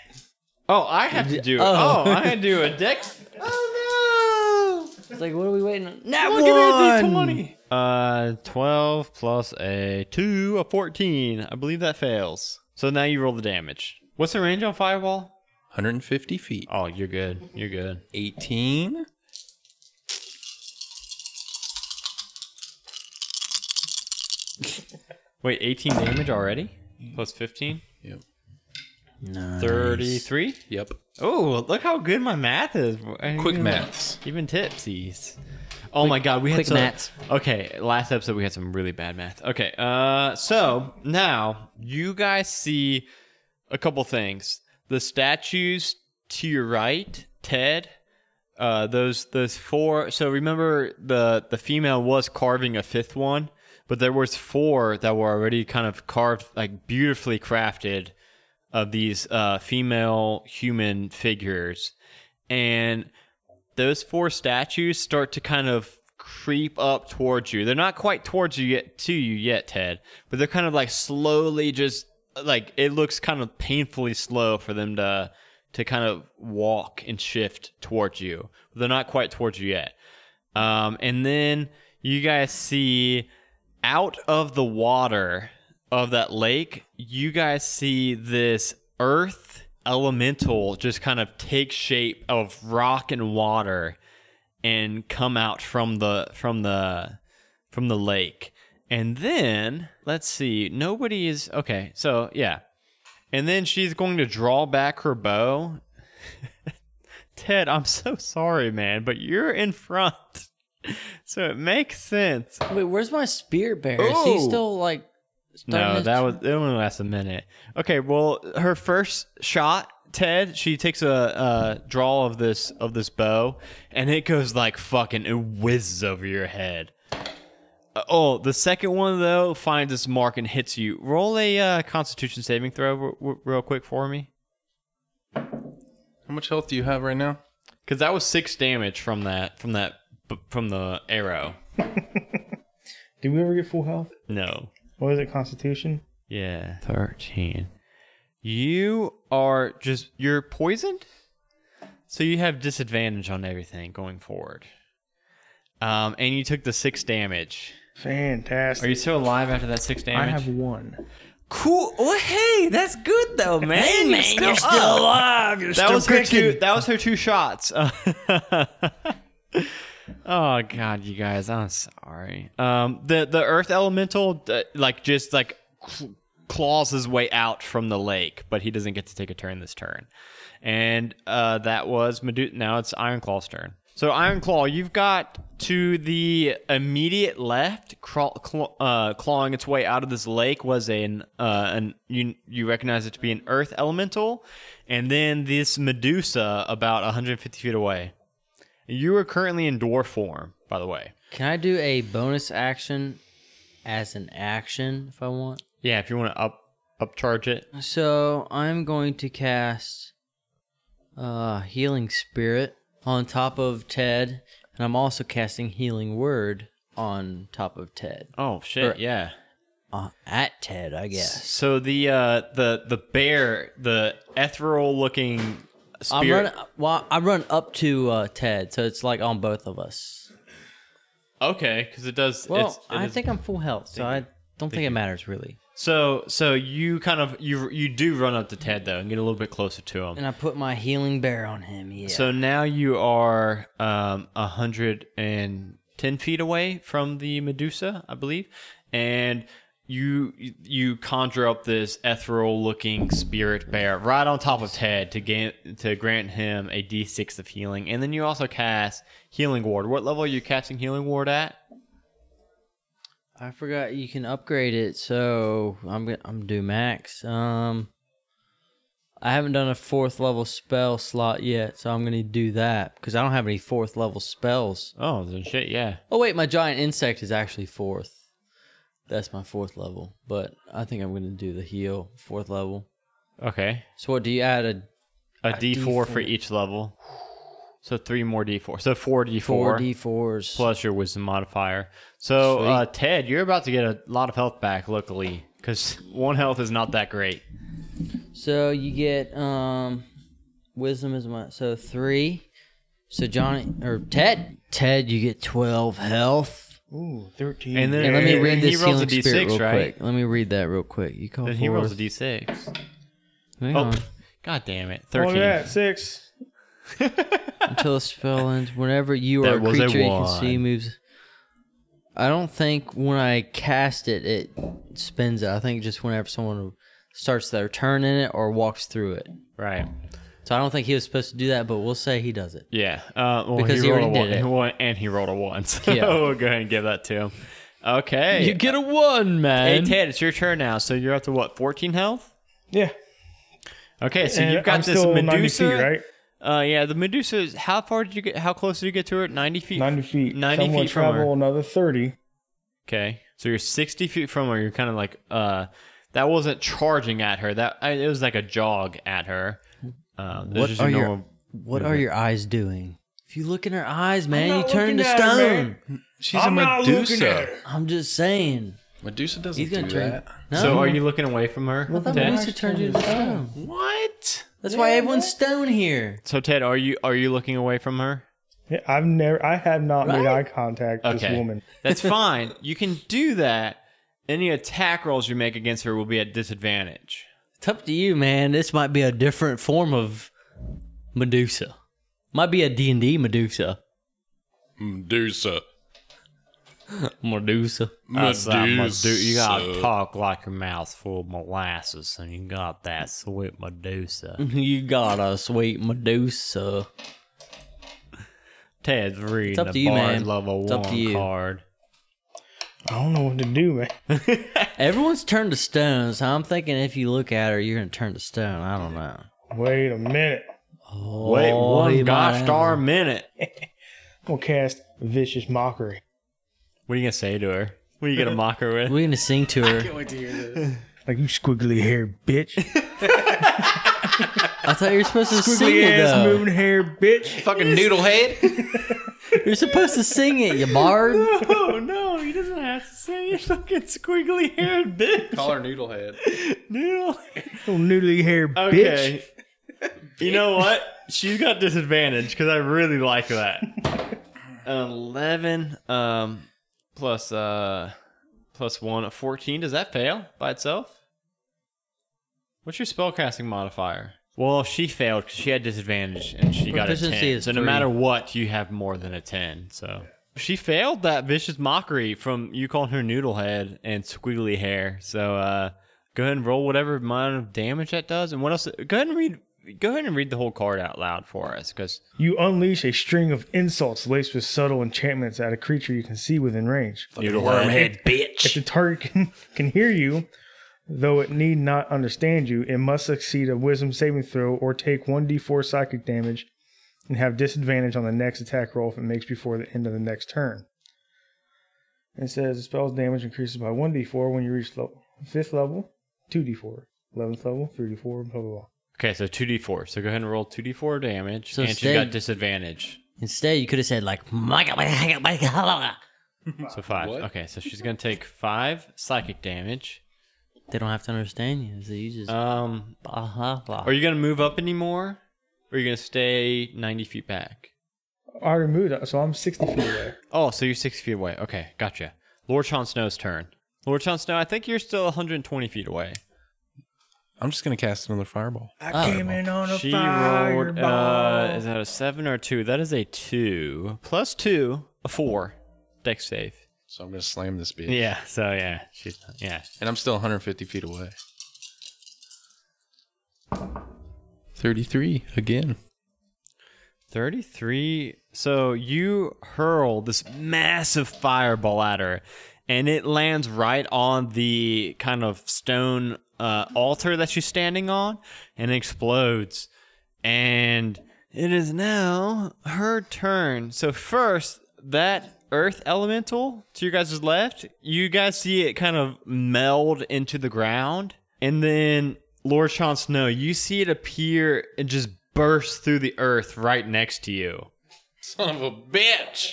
Speaker 1: Oh, I have to do it.
Speaker 2: Oh.
Speaker 1: Oh, I had to do a dex. Oh no!
Speaker 2: It's like, what are we waiting on? Nat
Speaker 1: Uh, 12 plus a 2, a 14. I believe that fails. So now you roll the damage. What's the range on Fireball?
Speaker 6: 150 feet.
Speaker 1: Oh, you're good. You're good.
Speaker 6: 18.
Speaker 1: Wait, 18 damage already? Plus 15?
Speaker 6: Yep.
Speaker 1: 33?
Speaker 6: Yep.
Speaker 1: Oh, look how good my math is.
Speaker 6: Quick
Speaker 1: Even-
Speaker 6: maths.
Speaker 1: Even tipsies. Oh my god, we had
Speaker 2: quick
Speaker 1: some,
Speaker 2: maths.
Speaker 1: Okay, last episode we had some really bad math. Okay, uh, so now you guys see a couple things: the statues to your right, Ted, uh, those those four. So remember the the female was carving a fifth one, but there was four that were already kind of carved, like beautifully crafted, of these uh, female human figures, and those four statues start to kind of creep up towards you. They're not quite towards you yet to you yet, Ted, but they're kind of like slowly just like it looks kind of painfully slow for them to to kind of walk and shift towards you. They're not quite towards you yet. Um, and then you guys see out of the water of that lake, you guys see this earth elemental just kind of take shape of rock and water and come out from the from the from the lake. And then let's see, nobody is okay. So yeah, and then she's going to draw back her bow. Ted, I'm so sorry, man, but you're in front, so it makes sense.
Speaker 2: Wait, where's my spear bear? Is he
Speaker 1: Oh.
Speaker 2: still like? starting
Speaker 1: No,
Speaker 2: to-
Speaker 1: that was it only lasts a minute. Okay, well, her first shot, Ted, she takes a, a draw of this of this bow, and it goes like fucking it whizzes over your head. Uh, oh, the second one though finds its mark and hits you. Roll a uh, Constitution saving throw r- r- real quick for me,
Speaker 6: How much health do you have right now?
Speaker 1: because that was six damage from that from that b- from the arrow.
Speaker 4: Did we ever get full health?
Speaker 1: No.
Speaker 4: What is it? Constitution.
Speaker 1: Yeah. 13. You are just, you're poisoned? So you have disadvantage on everything going forward. Um, and you took the six damage. Are
Speaker 4: Fantastic.
Speaker 1: you still alive after that six damage?
Speaker 4: I have one.
Speaker 1: cool. Well, hey, that's good though, man.
Speaker 3: Hey, man, you're still alive. You're
Speaker 1: that
Speaker 3: still
Speaker 1: was her
Speaker 3: kicking.
Speaker 1: two. That was her two shots. oh God, you guys, I'm sorry. Um, the the Earth Elemental, uh, like just like cl- claws his way out from the lake, but he doesn't get to take a turn this turn. And uh, that was Medu- Now it's Iron Claw's turn. So Iron Claw, you've got to the immediate left, craw- claw, uh, clawing its way out of this lake was an uh, an you you recognize it to be an Earth Elemental, and then this Medusa about 150 feet away. You are currently in dwarf form, by the way.
Speaker 2: Can I do a bonus action as an action if I want?
Speaker 1: Yeah, if you want to up upcharge it.
Speaker 2: So I'm going to cast uh, Healing Spirit on top of Ted, and I'm also casting Healing Word on top of Ted.
Speaker 1: Oh shit!
Speaker 2: Or-
Speaker 1: yeah.
Speaker 2: Uh, at Ted, I guess.
Speaker 1: So the uh, the the bear, the ethereal looking
Speaker 2: I'm
Speaker 1: spirit.
Speaker 2: run, well, I run up to uh, Ted, so it's like on both of us.
Speaker 1: okay, because it does.
Speaker 2: Well,
Speaker 1: it's, it
Speaker 2: I
Speaker 1: is-
Speaker 2: think I'm full health, so I don't think it matters really.
Speaker 1: so. So you kind of you you do run up to Ted though and get a little bit closer to him.
Speaker 2: And I put my healing bear on him. Yeah.
Speaker 1: So now you are um, 110 feet away from the Medusa, I believe, and you you conjure up this ethereal looking spirit bear right on top of Ted to gain to grant him a d6 of healing, and then you also cast healing ward. What level are you casting healing ward at?
Speaker 2: I forgot you can upgrade it, so I'm gonna I'm do max. Um, I haven't done a fourth level spell slot yet, so I'm gonna do that because I don't have any fourth level spells.
Speaker 1: Oh, then shit, yeah.
Speaker 2: Oh wait, my giant insect is actually fourth. That's my fourth level, but I think I'm gonna do the heal fourth level.
Speaker 1: Okay,
Speaker 2: So what do you add a
Speaker 1: a d4 for each level. So three more d4. So four d4.
Speaker 2: four d fours?
Speaker 1: plus your wisdom modifier. So,
Speaker 2: Sweet.
Speaker 1: uh, Ted, you're about to get a lot of health back, luckily, because one health is not that great.
Speaker 2: So you get um wisdom is my so three. So Johnny or Ted, Ted, you get twelve health.
Speaker 4: Ooh, thirteen.
Speaker 1: And then
Speaker 2: And let me
Speaker 1: and
Speaker 2: read
Speaker 1: he
Speaker 2: this
Speaker 1: rolls
Speaker 2: healing
Speaker 1: a d6,
Speaker 2: spirit real
Speaker 1: right?
Speaker 2: quick. Let me read that real quick. You call
Speaker 1: Then
Speaker 2: forth.
Speaker 1: he rolls a d6.
Speaker 2: Hang
Speaker 1: Oh,
Speaker 2: on.
Speaker 1: pff, god damn it.
Speaker 4: oh
Speaker 1: 13.
Speaker 4: yeah, six.
Speaker 2: Until the spell ends, whenever you
Speaker 1: That
Speaker 2: are a
Speaker 1: was a
Speaker 2: creature you can see
Speaker 1: one.
Speaker 2: moves. I don't think when I cast it, it spins it. I think just whenever someone starts their turn in it or walks through it.
Speaker 1: Right.
Speaker 2: So I don't think he was supposed to do that, but we'll say he does it.
Speaker 1: Yeah. Uh, well,
Speaker 2: Because
Speaker 1: he,
Speaker 2: he
Speaker 1: rolled
Speaker 2: already
Speaker 1: a one,
Speaker 2: did it.
Speaker 1: he won- And he rolled a 1. So
Speaker 2: Yeah.
Speaker 1: we'll go ahead and give that to him. Okay.
Speaker 2: You get a one, man.
Speaker 1: hey, Ted, it's your turn now. So you're up to what, 14 health?
Speaker 4: Yeah.
Speaker 1: Okay, so
Speaker 4: And
Speaker 1: you've got
Speaker 4: I'm
Speaker 1: this
Speaker 4: still 90
Speaker 1: Medusa.
Speaker 4: feet, right?
Speaker 1: Uh, yeah, the Medusa. Is, how far did you get? How close did you get to it? Ninety feet.
Speaker 4: 90 feet.
Speaker 1: 90
Speaker 4: Someone
Speaker 1: feet from
Speaker 4: travel
Speaker 1: her.
Speaker 4: another 30.
Speaker 1: Okay, so you're sixty feet from her. You're kind of like uh, that wasn't charging at her. That I, it was like a jog at her. Uh,
Speaker 2: What
Speaker 1: what
Speaker 2: are your- What are your eyes doing? If you look in her eyes, man, you
Speaker 4: not
Speaker 2: turn into
Speaker 4: looking at her,
Speaker 2: stone.
Speaker 4: man.
Speaker 6: She's
Speaker 4: I'm
Speaker 6: a
Speaker 4: not looking at
Speaker 6: Medusa.
Speaker 4: her.
Speaker 2: I'm just saying.
Speaker 6: Medusa doesn't
Speaker 2: He's gonna
Speaker 6: do
Speaker 2: turn.
Speaker 6: that.
Speaker 2: No.
Speaker 1: So are you looking away from her?
Speaker 2: I thought
Speaker 1: Ted?
Speaker 2: Medusa turned you into stone.
Speaker 6: What?
Speaker 2: That's why everyone's stone here.
Speaker 1: So Ted, are you are you looking away from her?
Speaker 4: Yeah, I've never, I have not made
Speaker 2: Right?
Speaker 4: eye contact with
Speaker 1: Okay.
Speaker 4: this woman.
Speaker 1: That's fine. you can do that. Any attack rolls you make against her will be at disadvantage.
Speaker 2: It's up to you, man. This might be a different form of Medusa. Might be a D&D Medusa.
Speaker 6: Medusa.
Speaker 2: Medusa.
Speaker 1: Outside Medu- you gotta talk like your mouth's full of molasses, and you got that sweet Medusa.
Speaker 2: You got a sweet Medusa.
Speaker 1: Ted's reading
Speaker 2: up
Speaker 1: the
Speaker 2: to you,
Speaker 1: Bard
Speaker 2: man.
Speaker 1: level
Speaker 2: It's
Speaker 1: one
Speaker 2: up to you.
Speaker 1: card.
Speaker 4: I don't know what to do, man.
Speaker 2: Everyone's turned to stone, so I'm thinking if you look at her, you're gonna turn to stone. I don't know.
Speaker 4: Wait a minute.
Speaker 2: Oh,
Speaker 1: Wait
Speaker 2: he
Speaker 1: one gosh
Speaker 2: might-
Speaker 1: darn minute.
Speaker 4: I'm going to cast Vicious Mockery.
Speaker 1: What are you gonna say to her? What are you gonna mock her with?
Speaker 2: We're gonna sing to her.
Speaker 5: Wait to hear this.
Speaker 4: Like, you squiggly haired bitch.
Speaker 2: I thought you were supposed to sing
Speaker 4: squiggly
Speaker 2: it
Speaker 4: ass
Speaker 2: though.
Speaker 4: moon hair bitch.
Speaker 6: Fucking noodle head.
Speaker 2: You're supposed to sing it, you bard.
Speaker 1: Oh no, he doesn't have to say you fucking squiggly haired bitch.
Speaker 6: Call her noodle head.
Speaker 1: Noodle.
Speaker 4: Little noodly haired bitch.
Speaker 1: Okay. You know what? She's got disadvantage because I really like that. An Eleven um, plus uh, plus one, a fourteen. Does that fail by itself? What's your spellcasting modifier? Well, she failed because she had disadvantage and she got a
Speaker 2: Proficiency
Speaker 1: ten.
Speaker 2: is
Speaker 1: So no
Speaker 2: three.
Speaker 1: matter what, you have more than a ten. So she failed that vicious mockery from you calling her noodle head and squiggly hair. So uh, go ahead and roll whatever amount of damage that does, and what else? Go ahead and read. Go ahead and read the whole card out loud for us, because
Speaker 4: You unleash a string of insults laced with subtle enchantments at a creature you can see within range.
Speaker 1: noodle head.
Speaker 4: If the target can, can hear you, though it need not understand you, it must succeed a wisdom saving throw or take 1d4 psychic damage and have disadvantage on the next attack roll if it makes before the end of the next turn. It says the spell's damage increases by 1d4 when you reach level, 5th level, 2d4, 11th level, 3d4, blah, blah, blah.
Speaker 1: Okay, so two d four. So go ahead and roll two d four damage,
Speaker 2: So
Speaker 1: and she
Speaker 2: stay-
Speaker 1: got disadvantage.
Speaker 2: Instead, you could have said like, "Micah, Micah, Micah, Micah."
Speaker 1: So five.
Speaker 6: What?
Speaker 1: Okay, so she's gonna take five psychic damage.
Speaker 2: they don't have to understand you. So you just,
Speaker 1: Um,
Speaker 2: uh-huh, blah.
Speaker 1: are you gonna move up anymore, or are you gonna stay ninety feet back?
Speaker 4: I already moved, so I'm 60 feet away.
Speaker 1: Oh, so you're six feet away. Okay, gotcha. Lord Chon Snow's turn. Lord Chon Snow, I think you're still 120 feet away.
Speaker 6: I'm just gonna cast another fireball.
Speaker 4: I came in on a
Speaker 1: She rolled. Uh,
Speaker 4: fireball.
Speaker 1: is that a seven or a two? That is a two plus two, a four. Deck save.
Speaker 6: So I'm gonna slam this bitch.
Speaker 1: Yeah. So yeah, she's yeah.
Speaker 6: And I'm still 150 feet away. 33 again.
Speaker 1: 33. So you hurl this massive fireball at her, and it lands right on the kind of stone uh, altar that she's standing on and explodes. And it is now her turn. So, first, that earth elemental to your guys' left, you guys see it kind of meld into the ground. And then Lord Sean Snow, you see it appear and just burst through the earth right next to you.
Speaker 6: Son of a bitch!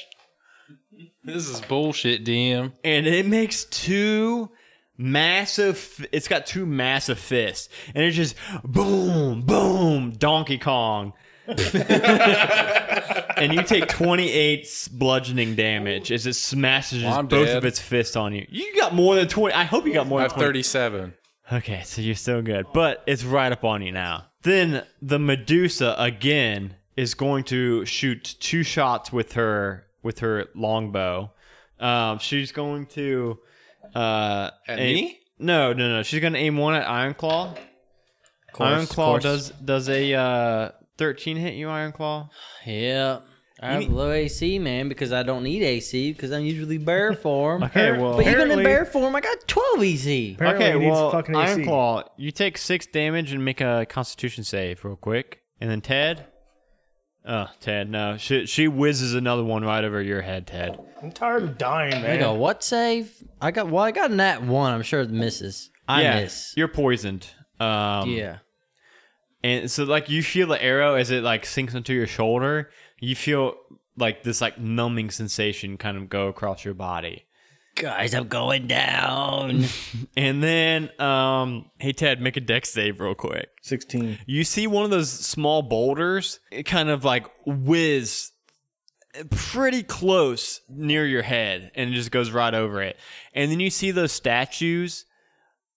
Speaker 6: This is bullshit, DM.
Speaker 1: and it makes two massive it's got two massive fists and it's just boom boom donkey kong and you take 28 s- bludgeoning damage as it smashes
Speaker 6: Well, I'm
Speaker 1: both
Speaker 6: dead.
Speaker 1: of its fists on you you got more than 20 i hope you got more
Speaker 6: I
Speaker 1: than
Speaker 6: have
Speaker 1: 20
Speaker 6: 37.
Speaker 1: Okay, so you're still good, but it's right up on you now. Then the Medusa again is going to shoot two shots with her with her longbow. Um, she's going to uh,
Speaker 6: At
Speaker 1: aim-
Speaker 6: me?
Speaker 1: No, no, no. She's going to aim one at Iron Claw. Iron Claw does does a uh, thirteen hit you, Iron Claw.
Speaker 2: Yeah. I
Speaker 1: You
Speaker 2: have
Speaker 1: need-
Speaker 2: low AC, man, because I don't need AC because I'm usually bear form.
Speaker 1: Okay, well,
Speaker 2: But even in
Speaker 4: Apparently-
Speaker 2: bear form, I got 12 AC.
Speaker 4: Apparently
Speaker 1: okay,
Speaker 4: it needs
Speaker 1: well,
Speaker 4: fucking AC.
Speaker 1: Iron Claw, you take six damage and make a Constitution save real quick, and then Ted, Oh, Ted, no. She she whizzes another one right over your head, Ted.
Speaker 7: I'm tired of dying,
Speaker 2: I
Speaker 7: man.
Speaker 2: got what save? I got well, I got that one. I'm sure it misses. I
Speaker 1: yeah,
Speaker 2: miss.
Speaker 1: You're poisoned. Um,
Speaker 2: Yeah.
Speaker 1: And so, like, you feel the arrow as it like sinks into your shoulder. You feel like this like numbing sensation kind of go across your body.
Speaker 2: Guys, I'm going down.
Speaker 1: And then, um, hey Ted, make a deck save real quick.
Speaker 7: 16.
Speaker 1: You see one of those small boulders it kind of like whiz pretty close near your head and it just goes right over it. And then you see those statues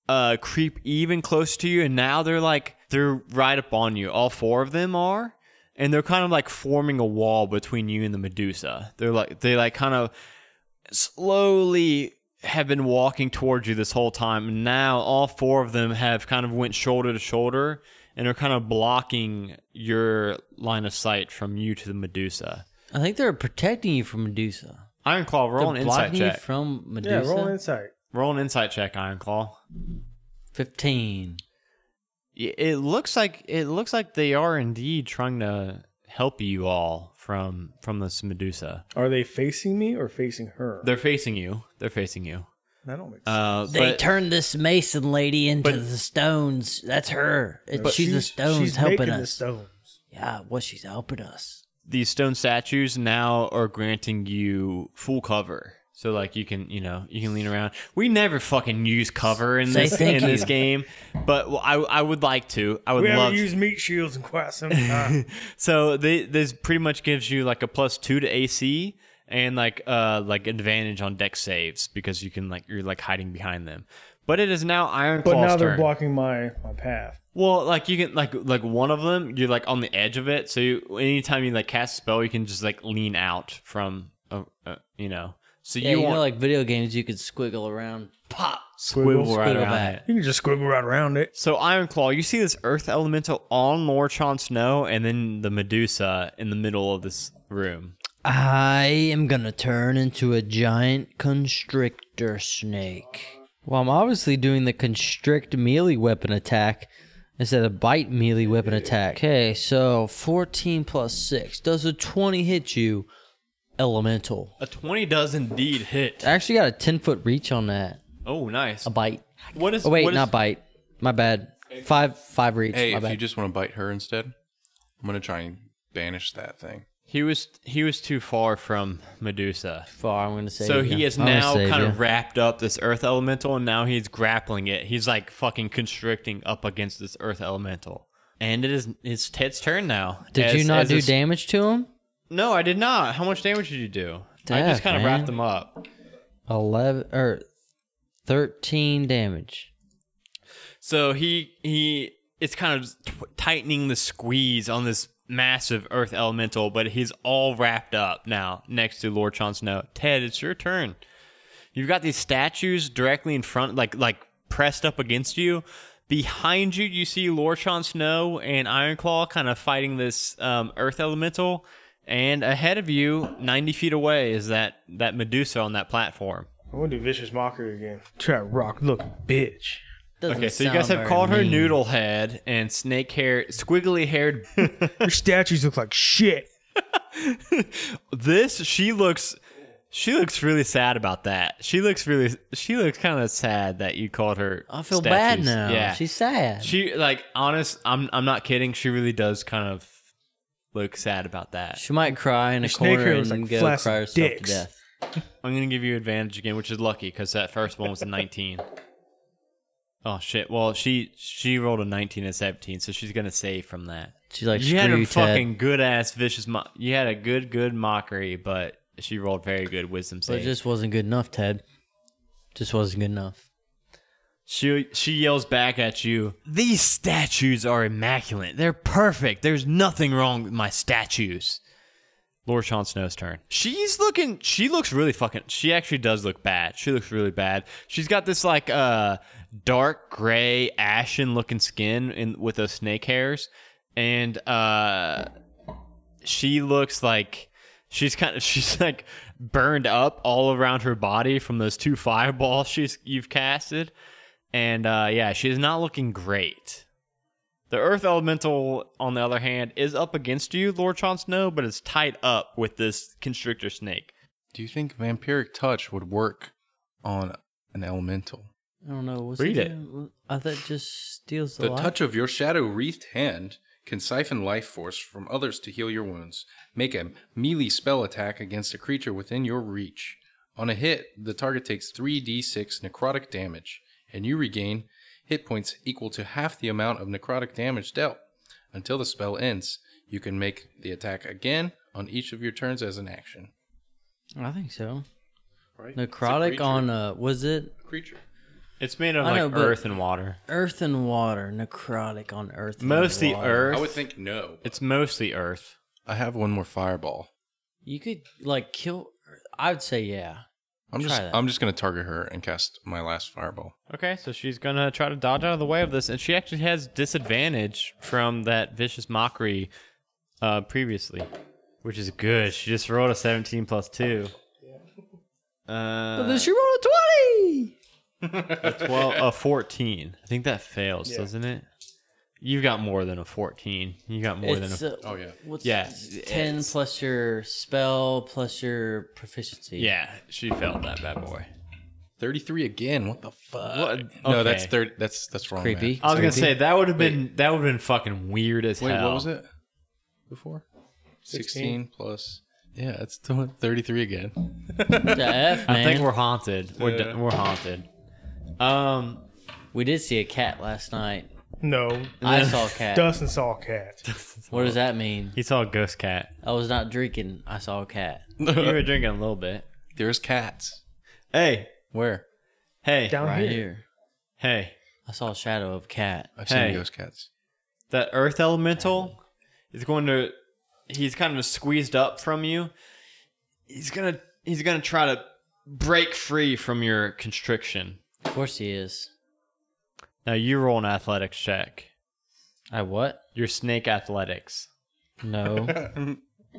Speaker 1: uh creep even closer to you and now they're like they're right up on you. All four of them are. And they're kind of like forming a wall between you and the Medusa. They're like they like kind of slowly have been walking towards you this whole time and now all four of them have kind of went shoulder to shoulder and are kind of blocking your line of sight from you to the medusa
Speaker 2: I think they're protecting you from Medusa.
Speaker 1: iron claw roll an
Speaker 2: they're
Speaker 1: insight
Speaker 2: blocking you
Speaker 1: check
Speaker 2: from
Speaker 4: Yeah,
Speaker 2: Medusa.
Speaker 4: roll insight.
Speaker 1: roll an insight check iron claw
Speaker 2: 15.
Speaker 1: Y- it looks like it looks like they are indeed trying to help you all from from this medusa
Speaker 4: Are they facing me or facing her?
Speaker 1: they're facing you they're facing you
Speaker 4: I don't make sense.
Speaker 1: uh
Speaker 2: They
Speaker 1: but-
Speaker 2: turned this mason lady into
Speaker 1: but-
Speaker 2: the stones. That's her. It- she's, the stones
Speaker 4: she's
Speaker 2: helping
Speaker 4: making The
Speaker 2: us.
Speaker 4: stones.
Speaker 2: yeah, what she's helping us.
Speaker 1: these stone statues now are granting you full cover. So like you can you know you can lean around. We never fucking use cover in
Speaker 2: Say
Speaker 1: this
Speaker 2: thank
Speaker 1: in this
Speaker 2: you.
Speaker 1: game, but well, I I would like to. I would
Speaker 7: We
Speaker 1: love.
Speaker 7: haven't
Speaker 1: to.
Speaker 7: used meat shields in quite some time.
Speaker 1: so they, this pretty much gives you like a plus two to AC and like uh like advantage on deck saves because you can like you're like hiding behind them. But it is now Iron
Speaker 7: but
Speaker 1: Claw's
Speaker 7: now they're
Speaker 1: turn.
Speaker 7: blocking my, my path.
Speaker 1: Well, like you can like like one of them, you're like on the edge of it. So you, anytime you like cast a spell, you can just like lean out from, uh, uh, you know. So
Speaker 2: Yeah,
Speaker 1: you,
Speaker 2: you,
Speaker 1: want
Speaker 2: know, like video games, you could squiggle around, pop,
Speaker 1: squibble, right
Speaker 2: squiggle
Speaker 1: around
Speaker 2: back.
Speaker 1: it.
Speaker 7: You can just squiggle right around it.
Speaker 1: So Iron Claw, you see this Earth Elemental on Lorchon Snow, and then the Medusa in the middle of this room.
Speaker 2: I am gonna turn into a giant constrictor snake. Well, I'm obviously doing the constrict melee weapon attack instead of bite melee weapon attack. Okay, so 14 plus 6. Does a 20 hit you? Elemental.
Speaker 1: A twenty does indeed hit.
Speaker 2: I actually got a 10 foot reach on that.
Speaker 1: Oh, nice.
Speaker 2: A bite.
Speaker 1: What is?
Speaker 2: Oh, wait,
Speaker 1: what is-
Speaker 2: not bite. My bad. Five, five reach.
Speaker 6: Hey,
Speaker 2: My
Speaker 6: if you
Speaker 2: bad.
Speaker 6: just want to bite her instead, I'm gonna try and banish that thing.
Speaker 1: He was he was too far from Medusa.
Speaker 2: Far, I'm gonna save
Speaker 1: So
Speaker 2: you.
Speaker 1: he is
Speaker 2: I'm gonna
Speaker 1: now
Speaker 2: save
Speaker 1: kind
Speaker 2: you.
Speaker 1: of wrapped up this earth elemental and now he's grappling it. He's like fucking constricting up against this earth elemental. And it is it's Ted's turn now.
Speaker 2: Did
Speaker 1: As-
Speaker 2: you not
Speaker 1: as
Speaker 2: do
Speaker 1: this-
Speaker 2: damage to him?
Speaker 1: No, I did not. How much damage did you do? I
Speaker 2: Death,
Speaker 1: just kind of wrapped
Speaker 2: man.
Speaker 1: them up.
Speaker 2: 11 or 13 damage.
Speaker 1: So he he it's kind of t- tightening the squeeze on this massive earth elemental, but he's all wrapped up now next to Lord Chon Snow. Ted, it's your turn. You've got these statues directly in front, like like pressed up against you. Behind you, you see Lorchon Snow and Ironclaw kind of fighting this um, Earth Elemental, and ahead of you, ninety feet away, is that that Medusa on that platform.
Speaker 7: I'm going to do Vicious Mockery again.
Speaker 4: Try rock, look, bitch.
Speaker 2: Doesn't
Speaker 1: Okay, so you guys
Speaker 2: sound
Speaker 1: have
Speaker 2: very
Speaker 1: called her
Speaker 2: mean.
Speaker 1: Noodle Head and Snake Hair, Squiggly Haired.
Speaker 4: Your statues look like shit.
Speaker 1: this she looks, she looks really sad about that. She looks really, she looks kind of sad that you called her.
Speaker 2: I feel
Speaker 1: statues.
Speaker 2: bad now.
Speaker 1: Yeah,
Speaker 2: She's sad. She,
Speaker 1: She like honest. I'm I'm not kidding. She really does kind of look sad about that.
Speaker 2: might cry in a
Speaker 4: snake
Speaker 2: corner
Speaker 4: hair looks
Speaker 2: and
Speaker 4: like
Speaker 2: go
Speaker 4: flaccid
Speaker 2: cry herself
Speaker 4: dicks.
Speaker 2: to death.
Speaker 1: I'm gonna give you advantage again, which is lucky because that first one was a 19. Oh shit! Well, she she rolled a 19 and 17, so she's gonna save from that.
Speaker 2: She's like,
Speaker 1: you
Speaker 2: screw
Speaker 1: had a
Speaker 2: you, Ted.
Speaker 1: fucking good ass vicious. Mo- you had a good good mockery, but she rolled very good wisdom
Speaker 2: But it
Speaker 1: save.
Speaker 2: just wasn't good enough, Ted. Just wasn't good enough.
Speaker 1: She she yells back at you. These statues are immaculate. They're perfect. There's nothing wrong with my statues. Lord Sean Snow's turn. She's looking. She looks really fucking. She actually does look bad. She looks really bad. She's got this like uh dark gray, ashen looking skin in with those snake hairs, and uh she looks like she's kind of she's like burned up all around her body from those two fireballs she's you've casted and uh, yeah, she's not looking great. The Earth Elemental, on the other hand, is up against you, Lord Chon Snow, but it's tied up with this Constrictor Snake.
Speaker 6: Do you think vampiric touch would work on an elemental?
Speaker 2: I don't know. What's
Speaker 1: Read it.
Speaker 2: do? I thought it just steals the,
Speaker 6: The
Speaker 2: life.
Speaker 6: touch of your shadow wreathed hand can siphon life force from others to heal your wounds. Make a melee spell attack against a creature within your reach. On a hit, the target takes 3d6 necrotic damage, and you regain hit points equal to half the amount of necrotic damage dealt. Until the spell ends, you can make the attack again on each of your turns as an action.
Speaker 2: I think so.
Speaker 6: Right?
Speaker 2: Necrotic on uh was it
Speaker 6: creature.
Speaker 1: It's made of
Speaker 2: I
Speaker 1: like
Speaker 2: know, but-
Speaker 1: earth and water.
Speaker 2: earth and water? Necrotic on earth.
Speaker 1: Mostly
Speaker 2: and water.
Speaker 1: earth.
Speaker 6: I would think no.
Speaker 1: It's mostly earth.
Speaker 6: I have one more fireball.
Speaker 2: You could like kill. I would say yeah.
Speaker 6: I'm
Speaker 2: Try
Speaker 6: just
Speaker 2: that.
Speaker 6: I'm just gonna target her and cast my last fireball.
Speaker 1: Okay, so she's gonna try to dodge out of the way of this, and she actually has disadvantage from that vicious mockery uh, previously, which is good. She just rolled a seventeen plus two. Uh,
Speaker 2: she roll a twenty?
Speaker 1: a twelve, a fourteen. I think that fails, doesn't it? You've got more than a fourteen. You got more
Speaker 2: It's,
Speaker 1: than a.
Speaker 2: uh,
Speaker 6: Oh yeah.
Speaker 2: what's
Speaker 1: Yeah,
Speaker 2: ten plus your spell plus your proficiency.
Speaker 1: yeah, she failed that bad boy.
Speaker 6: 33 again. What the fuck?
Speaker 1: What-
Speaker 6: No, that's
Speaker 1: okay.
Speaker 6: third. That's that's wrong.
Speaker 2: Creepy.
Speaker 6: man.
Speaker 1: I was gonna say that would have been that would have been fucking weird as
Speaker 6: Wait,
Speaker 1: hell.
Speaker 6: what was it before? 16 plus. Yeah, it's still at 33 again.
Speaker 2: The F,
Speaker 1: I
Speaker 2: man.
Speaker 1: think we're haunted. We're d we're haunted. Um,
Speaker 2: we did see a cat last night.
Speaker 7: No.
Speaker 2: I saw a cat.
Speaker 7: Dustin saw a cat.
Speaker 2: What does that mean?
Speaker 1: he saw a ghost cat.
Speaker 2: I was not drinking. I saw a cat.
Speaker 1: You were drinking a little bit.
Speaker 6: There's cats.
Speaker 1: Hey,
Speaker 6: Where?
Speaker 1: hey,
Speaker 7: Down
Speaker 2: Right
Speaker 7: here.
Speaker 2: here.
Speaker 1: hey!
Speaker 2: I saw a shadow of a cat.
Speaker 6: I've
Speaker 1: Hey.
Speaker 6: seen ghost cats.
Speaker 1: That Earth Elemental is going to. He's kind of squeezed up from you. He's gonna. He's gonna try to break free from your constriction.
Speaker 2: Of course he is.
Speaker 1: Now you roll an athletics check.
Speaker 2: I what?
Speaker 1: Your snake athletics.
Speaker 2: No.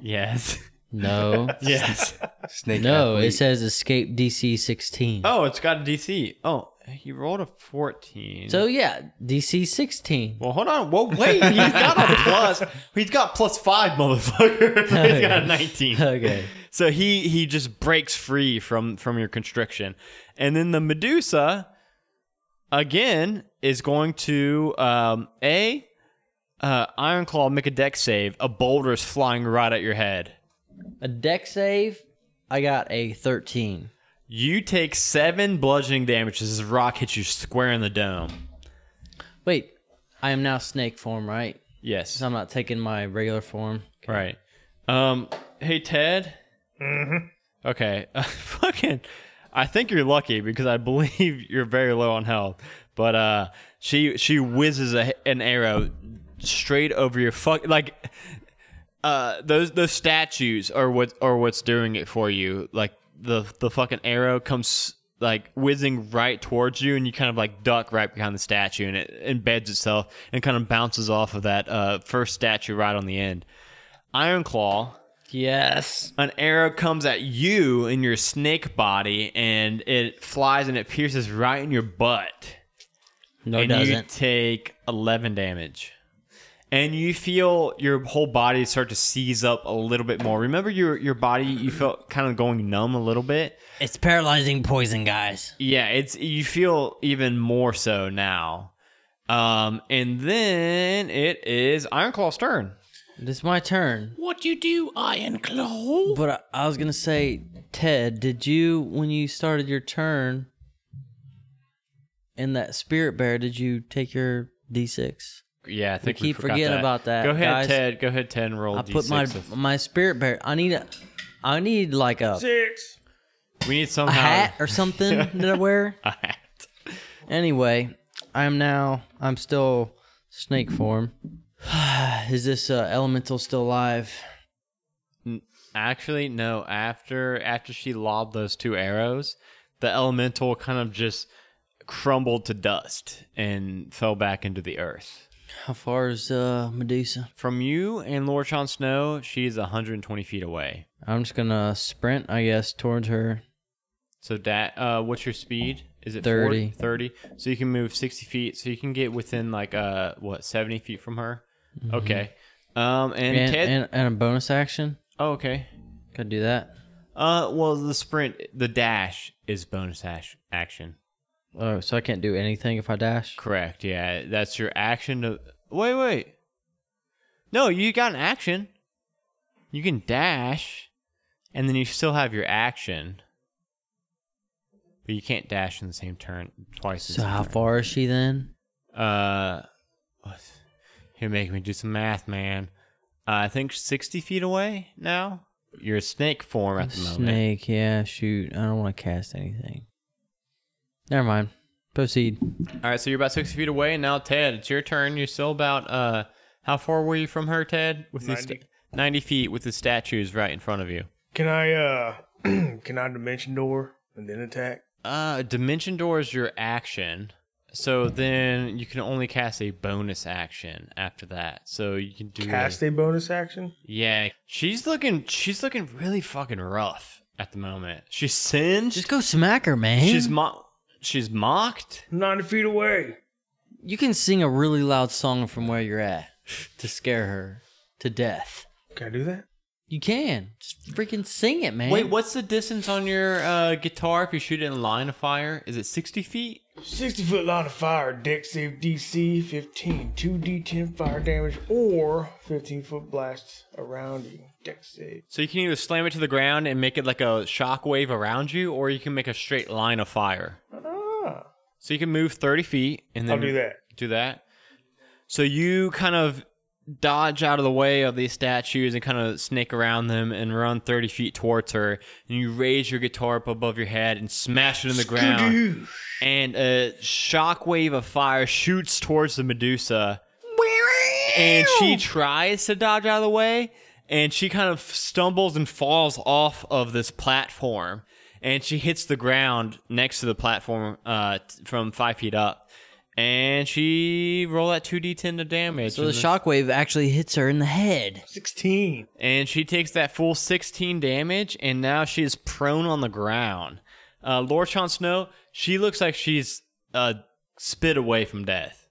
Speaker 1: Yes.
Speaker 2: No.
Speaker 1: yes.
Speaker 6: Snake.
Speaker 2: No,
Speaker 6: athlete.
Speaker 2: it says escape DC 16.
Speaker 1: Oh, it's got a DC. Oh, he rolled a fourteen.
Speaker 2: So yeah, DC 16.
Speaker 1: Well, hold on. Well, wait. He's got a plus. He's got plus five, motherfucker. He's got a nineteen.
Speaker 2: Okay.
Speaker 1: So he he just breaks free from from your constriction, and then the Medusa, again, is going to um, a uh, Iron Claw make a deck save. A boulder is flying right at your head.
Speaker 2: A deck save. I got a 13.
Speaker 1: You take seven bludgeoning damage as this rock hits you square in the dome.
Speaker 2: Wait, I am now snake form, right?
Speaker 1: Yes.
Speaker 2: So I'm not taking my regular form.
Speaker 1: Right. Um. Hey, Ted. Mm-hmm. Okay. fucking. I think you're lucky because I believe you're very low on health. But uh, she she whizzes a, an arrow straight over your fuck like. Uh, those those statues are what are what's doing it for you. Like the the fucking arrow comes like whizzing right towards you, and you kind of like duck right behind the statue, and it embeds itself and kind of bounces off of that uh, first statue right on the end. Iron Claw,
Speaker 2: Yes.
Speaker 1: an arrow comes at you in your snake body and it flies and it pierces right in your butt.
Speaker 2: No,
Speaker 1: and
Speaker 2: it
Speaker 1: you
Speaker 2: doesn't.
Speaker 1: take 11 damage. And you feel your whole body start to seize up a little bit more. Remember your your body you felt kind of going numb a little bit?
Speaker 2: It's paralyzing poison, guys.
Speaker 1: Yeah, it's you feel even more so now. Um and then it is Iron Claw's turn.
Speaker 2: It's my turn.
Speaker 3: What you do, Iron Claw?
Speaker 2: But I, I was going to say, Ted, did you, when you started your turn in that spirit bear, did you take your D6?
Speaker 1: Yeah, I think
Speaker 2: keep
Speaker 1: forgot
Speaker 2: forgetting about that,
Speaker 1: Go ahead,
Speaker 2: guys.
Speaker 1: Ted. Go ahead, Ted. and Roll.
Speaker 2: I put
Speaker 1: D6
Speaker 2: my
Speaker 1: of-
Speaker 2: my spirit bear. I need a, I need like a,
Speaker 7: Six.
Speaker 1: We need
Speaker 2: a
Speaker 1: somehow
Speaker 2: hat or something that I wear.
Speaker 1: a hat.
Speaker 2: Anyway, I'm now I'm still snake form. Is this uh, elemental still alive?
Speaker 1: Actually, no. After after she lobbed those two arrows, the elemental kind of just crumbled to dust and fell back into the earth.
Speaker 2: How far is uh, Medusa?
Speaker 1: From you and Lord Sean Snow, she's 120 feet away.
Speaker 2: I'm just gonna sprint, I guess, towards her.
Speaker 1: So that uh, what's your speed? Is it
Speaker 2: 30.
Speaker 1: 40? 30. So you can move 60 feet. So you can get within like uh what 70 feet from her. Okay. Um and,
Speaker 2: Mm-hmm. And,
Speaker 1: Ted.
Speaker 2: and, and a bonus action.
Speaker 1: oh, okay.
Speaker 2: Gotta do that.
Speaker 1: Uh, well, the sprint, the dash is bonus ash- action.
Speaker 2: Oh, so I can't do anything if I dash.
Speaker 1: Correct. Yeah, that's your action. To wait, wait. No, you got an action. You can dash, and then you still have your action, but you can't dash in the same turn twice. in
Speaker 2: So
Speaker 1: the same
Speaker 2: how far is she then?
Speaker 1: turn. Uh, what- you're making me do some math, man. Uh, I think sixty feet away now. You're a snake form at the moment.
Speaker 2: Snake. Yeah. Shoot. I don't want to cast anything. Never mind. Proceed.
Speaker 1: All right, so you're about sixty feet away, and now Ted, it's your turn. You're still about uh, how far were you from her, Ted? With these
Speaker 7: 90.
Speaker 1: sta- ninety feet, with the statues right in front of you.
Speaker 7: Can I uh can I dimension door and then attack?
Speaker 1: Uh, dimension door is your action, so then you can only cast a bonus action after that. So you can do
Speaker 7: Cast a bonus action?
Speaker 1: Yeah, she's looking. She's looking really fucking rough at the moment. She's singed.
Speaker 2: Just go smack her, man.
Speaker 1: she's mo- She's mocked.
Speaker 7: Ninety feet away.
Speaker 2: you can sing a really loud song from where you're at to scare her to death.
Speaker 7: Can I do that?
Speaker 2: You can just freaking sing it, man.
Speaker 1: Wait, what's the distance on your uh, guitar if you shoot it in line of fire? Is it sixty feet?
Speaker 7: 60 foot line of fire, deck save DC 15, 2d10 fire damage, or 15 foot blast around you. Deck save.
Speaker 1: So you can either slam it to the ground and make it like a shockwave around you, or you can make a straight line of fire.
Speaker 7: Ah,
Speaker 1: So you can move 30 feet and then
Speaker 7: I'll do that.
Speaker 1: do that. So you kind of dodge out of the way of these statues and kind of snake around them and run 30 feet towards her. And you raise your guitar up above your head and smash it in the ground. And a shockwave of fire shoots towards the Medusa. And she tries to dodge out of the way. And she kind of stumbles and falls off of this platform. And she hits the ground next to the platform uh, t- from five feet up. And she roll that 2d10 of damage.
Speaker 2: So the
Speaker 1: and then-
Speaker 2: shockwave actually hits her in the head.
Speaker 7: 16.
Speaker 1: and she takes that full 16 damage, and now she is prone on the ground. Uh, Lord Sean Snow, she looks like she's uh, spit away from death.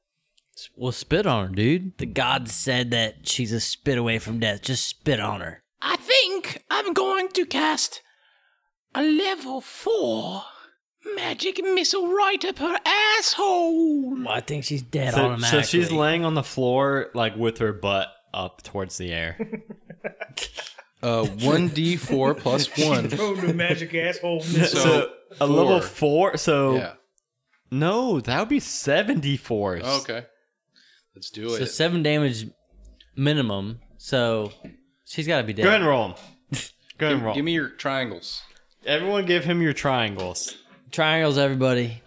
Speaker 2: Well, spit on her, dude. The god said that she's a spit away from death. Just spit on her.
Speaker 3: I think I'm going to cast a level four magic missile right up her asshole.
Speaker 2: Well, I think she's dead
Speaker 1: So, so
Speaker 2: automatically.
Speaker 1: she's laying on the floor, like with her butt up towards the air.
Speaker 6: Uh, 1d4 plus 1.
Speaker 7: Oh, the magic asshole.
Speaker 1: so,
Speaker 7: missile.
Speaker 1: a level
Speaker 6: four.
Speaker 1: four. So
Speaker 6: Yeah.
Speaker 1: no, that would be 74s.
Speaker 6: Okay. Let's do
Speaker 2: So
Speaker 6: it.
Speaker 2: seven damage minimum. So she's got to be dead.
Speaker 1: Go ahead and roll 'em. Go ahead and roll.
Speaker 6: Give me your triangles.
Speaker 1: Everyone give him your triangles.
Speaker 2: Triangles, everybody.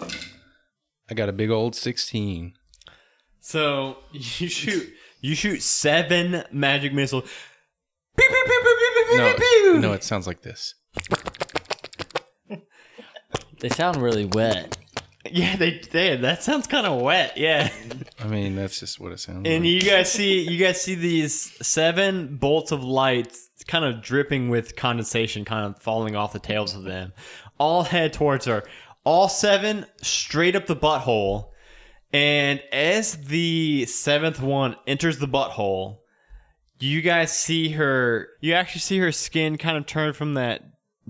Speaker 6: I got a big old 16.
Speaker 1: So you shoot you shoot seven magic missiles. Pew, pew, pew, pew, pew, pew,
Speaker 6: No,
Speaker 1: pew, pew.
Speaker 6: no, it sounds like this.
Speaker 2: They sound really wet.
Speaker 1: Yeah, they did. That sounds kind of wet. Yeah.
Speaker 6: I mean, that's just what it sounds
Speaker 1: And
Speaker 6: like.
Speaker 1: you guys see you guys see these seven bolts of light kind of dripping with condensation kind of falling off the tails of them. All head towards her. All seven straight up the butthole. And as the seventh one enters the butthole, you guys see her you actually see her skin kind of turn from that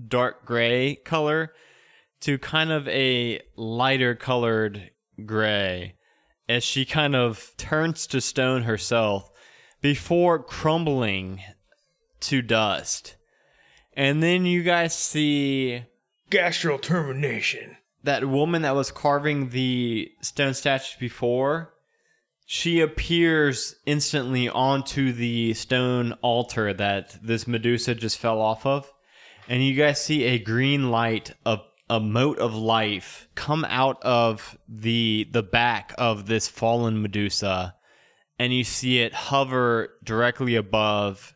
Speaker 1: dark gray color to kind of a lighter colored gray as she kind of turns to stone herself before crumbling to dust. And then you guys see
Speaker 7: Gastral termination.
Speaker 1: that woman that was carving the stone statues before. She appears instantly onto the stone altar that this Medusa just fell off of. And you guys see a green light, a, a mote of life come out of the the back of this fallen Medusa. And you see it hover directly above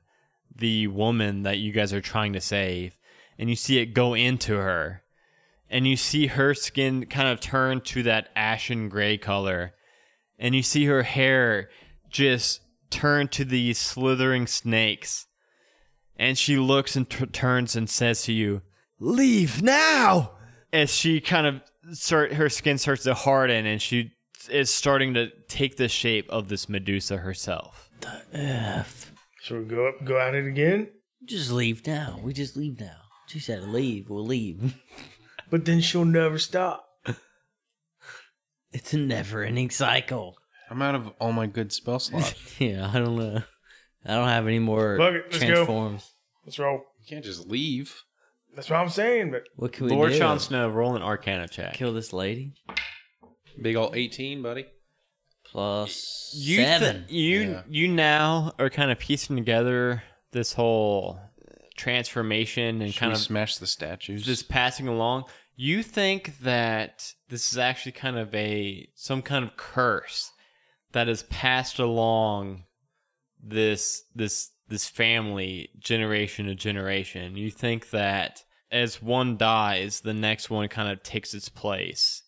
Speaker 1: the woman that you guys are trying to save. And you see it go into her and you see her skin kind of turn to that ashen gray color and you see her hair just turn to these slithering snakes and she looks and t- turns and says to you
Speaker 8: Leave now!
Speaker 1: as she kind of start, her skin starts to harden and she is starting to take the shape of this Medusa herself.
Speaker 7: So we go up, go at it again.
Speaker 2: Just leave now. We just leave now. She said, leave. We'll leave.
Speaker 7: But then she'll never stop.
Speaker 2: It's a never ending cycle.
Speaker 6: I'm out of all my good spell slots.
Speaker 2: Yeah, I don't know. I don't have any more
Speaker 7: Fuck it, let's go.
Speaker 2: transforms.
Speaker 7: Let's roll.
Speaker 6: you can't just leave.
Speaker 7: That's what I'm saying. But
Speaker 2: What can we
Speaker 1: Lord
Speaker 2: do?
Speaker 1: Jon Snow, roll an Arcana check.
Speaker 2: Kill this lady.
Speaker 6: Big ol' 18, buddy.
Speaker 2: Plus
Speaker 1: you th-
Speaker 2: seven.
Speaker 1: you
Speaker 6: Yeah.
Speaker 1: you now are kind of piecing together this whole transformation and
Speaker 6: Should
Speaker 1: kind
Speaker 6: we
Speaker 1: of
Speaker 6: smash the statues.
Speaker 1: just passing along. You think that this is actually kind of a some kind of curse that is passed along this this this family generation to generation. You think that as one dies, the next one kind of takes its place.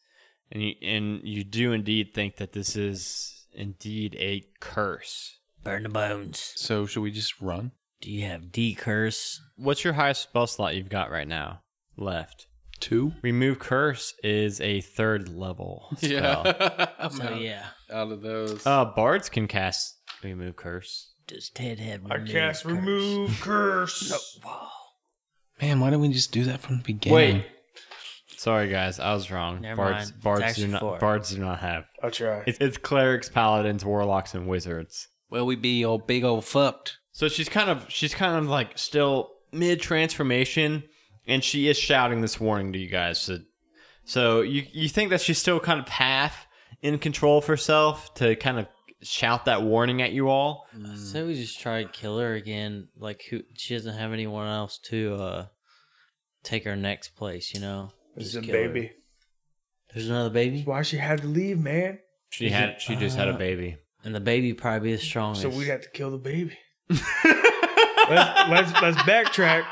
Speaker 1: And you and you do indeed think that this is indeed a curse.
Speaker 2: Burn the bones.
Speaker 6: so should we just run?
Speaker 2: Do you have D curse?
Speaker 1: What's your highest spell slot you've got right now left?
Speaker 6: Two?
Speaker 1: Remove curse is a third level. Spell.
Speaker 6: I'm
Speaker 2: So Oh, yeah.
Speaker 6: out of those.
Speaker 1: Uh, bards can cast remove curse.
Speaker 2: Does Ted have
Speaker 7: I
Speaker 2: remove
Speaker 7: cast
Speaker 2: curse?
Speaker 7: remove curse.
Speaker 6: Man, why didn't we just do that from the beginning?
Speaker 1: Wait. Sorry guys, I was wrong.
Speaker 2: Never
Speaker 1: bards
Speaker 2: mind. It's
Speaker 1: bards do
Speaker 2: actually
Speaker 1: not
Speaker 2: four.
Speaker 1: bards do not have.
Speaker 7: I'll try.
Speaker 1: It's, it's clerics, paladins, warlocks, and wizards.
Speaker 6: Well, we be old big old fucked.
Speaker 1: So she's kind of she's kind of like still mid transformation, and she is shouting this warning to you guys. So, so you you think that she's still kind of half in control of herself to kind of shout that warning at you all.
Speaker 2: So we just try to kill her again. Like who? She doesn't have anyone else to uh take her next place. You know.
Speaker 7: This is
Speaker 2: Just
Speaker 7: a
Speaker 2: kill her.
Speaker 7: baby.
Speaker 2: There's another baby,
Speaker 7: Why she had to leave, man?
Speaker 1: She had she just
Speaker 2: uh,
Speaker 1: had a baby.
Speaker 2: and the baby probably be the strongest.
Speaker 7: So we'd have to kill the baby. let's, let's let's backtrack.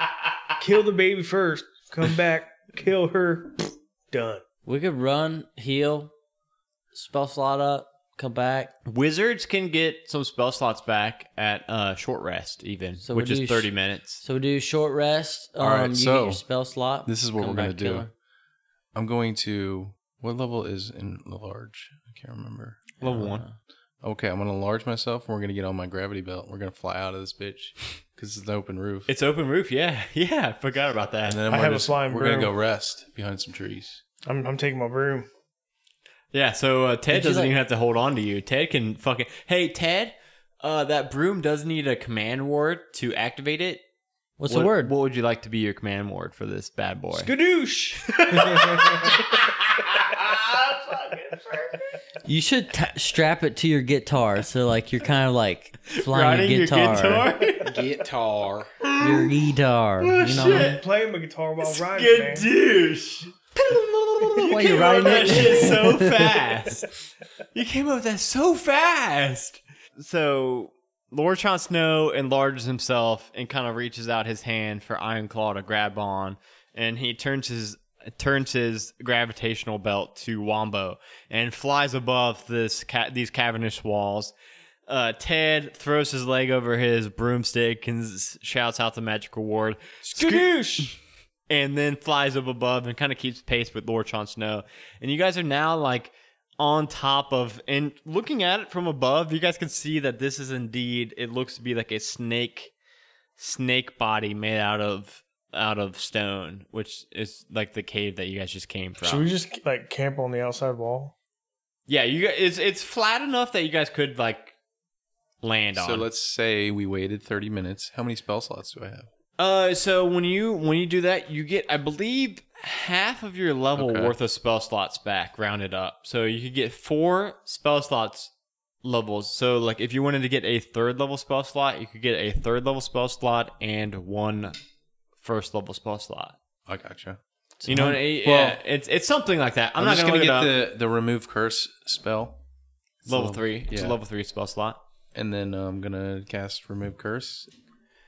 Speaker 7: Kill the baby first. Come back. Kill her. Done.
Speaker 2: We could run, heal, spell slot up, come back.
Speaker 1: Wizards can get some spell slots back at uh, short rest, even,
Speaker 2: So
Speaker 1: which
Speaker 2: we
Speaker 1: is
Speaker 2: do sh-
Speaker 1: 30 minutes.
Speaker 2: So we do short rest. Um,
Speaker 6: All right,
Speaker 2: you get
Speaker 6: so
Speaker 2: your spell slot.
Speaker 6: This is what
Speaker 2: come
Speaker 6: we're gonna
Speaker 2: back, kill
Speaker 6: do.
Speaker 2: her.
Speaker 6: I'm going to. What level is in large? I can't remember.
Speaker 1: Level one.
Speaker 6: Okay, I'm gonna enlarge myself. and We're gonna get on my gravity belt. We're gonna fly out of this bitch because it's an open roof.
Speaker 1: It's open roof, yeah. Yeah, I forgot about that.
Speaker 6: and then
Speaker 7: I
Speaker 6: we're
Speaker 7: have a
Speaker 6: just,
Speaker 7: flying
Speaker 6: We're gonna
Speaker 7: broom.
Speaker 6: go rest behind some trees.
Speaker 7: I'm I'm taking my broom.
Speaker 1: yeah, so uh, Ted
Speaker 2: Did you
Speaker 1: doesn't
Speaker 2: like-
Speaker 1: even have to hold on to you. Ted can fucking. Hey, Ted, uh, that broom does need a command word to activate it.
Speaker 2: What's
Speaker 1: what,
Speaker 2: the word?
Speaker 1: What would you like to be your command word for this bad boy?
Speaker 7: Skadoosh.
Speaker 2: you should t- strap it to your guitar. So like you're kind of like flying
Speaker 1: Riding
Speaker 2: your guitar.
Speaker 1: your
Speaker 5: Guitar.
Speaker 1: guitar?
Speaker 2: Your
Speaker 6: Oh,
Speaker 2: guitar. you know.
Speaker 7: I'm playing my guitar while riding, man.
Speaker 1: douche. you
Speaker 2: Why
Speaker 1: came
Speaker 2: you
Speaker 1: up with
Speaker 2: riding
Speaker 1: that
Speaker 2: it?
Speaker 1: shit so fast. You came up with that so fast. So Lord Jon Snow enlarges himself and kind of reaches out his hand for Iron Claw to grab on, and he turns his turns his gravitational belt to Wombo and flies above this ca- these cavernous walls. Uh, Ted throws his leg over his broomstick and s- shouts out the magical word,
Speaker 7: Skadoosh.
Speaker 1: and then flies up above and kind of keeps pace with Lord Jon Snow. And you guys are now like on top of and looking at it from above, you guys can see that this is indeed it looks to be like a snake snake body made out of out of stone, which is like the cave that you guys just came from.
Speaker 7: Should we just like camp on the outside wall?
Speaker 1: yeah, you guys it's it's flat enough that you guys could like land on.
Speaker 6: So let's say we waited 30 minutes. How many spell slots do I have?
Speaker 1: Uh, so when you when you do that, you get I believe half of your level
Speaker 6: Okay.
Speaker 1: worth of spell slots back, rounded up. So you could get four spell slots levels. So like if you wanted to get a third level spell slot, you could get a third level spell slot and one first level spell slot.
Speaker 6: I gotcha.
Speaker 1: You know, it,
Speaker 6: well-
Speaker 1: yeah, it's it's something like that. I'm,
Speaker 6: I'm,
Speaker 1: not
Speaker 6: just
Speaker 1: gonna,
Speaker 6: gonna,
Speaker 1: look it up.
Speaker 6: get the the remove curse spell. It's
Speaker 1: level three. It's a
Speaker 6: yeah.
Speaker 1: level three spell slot.
Speaker 6: and then uh, I'm gonna cast remove curse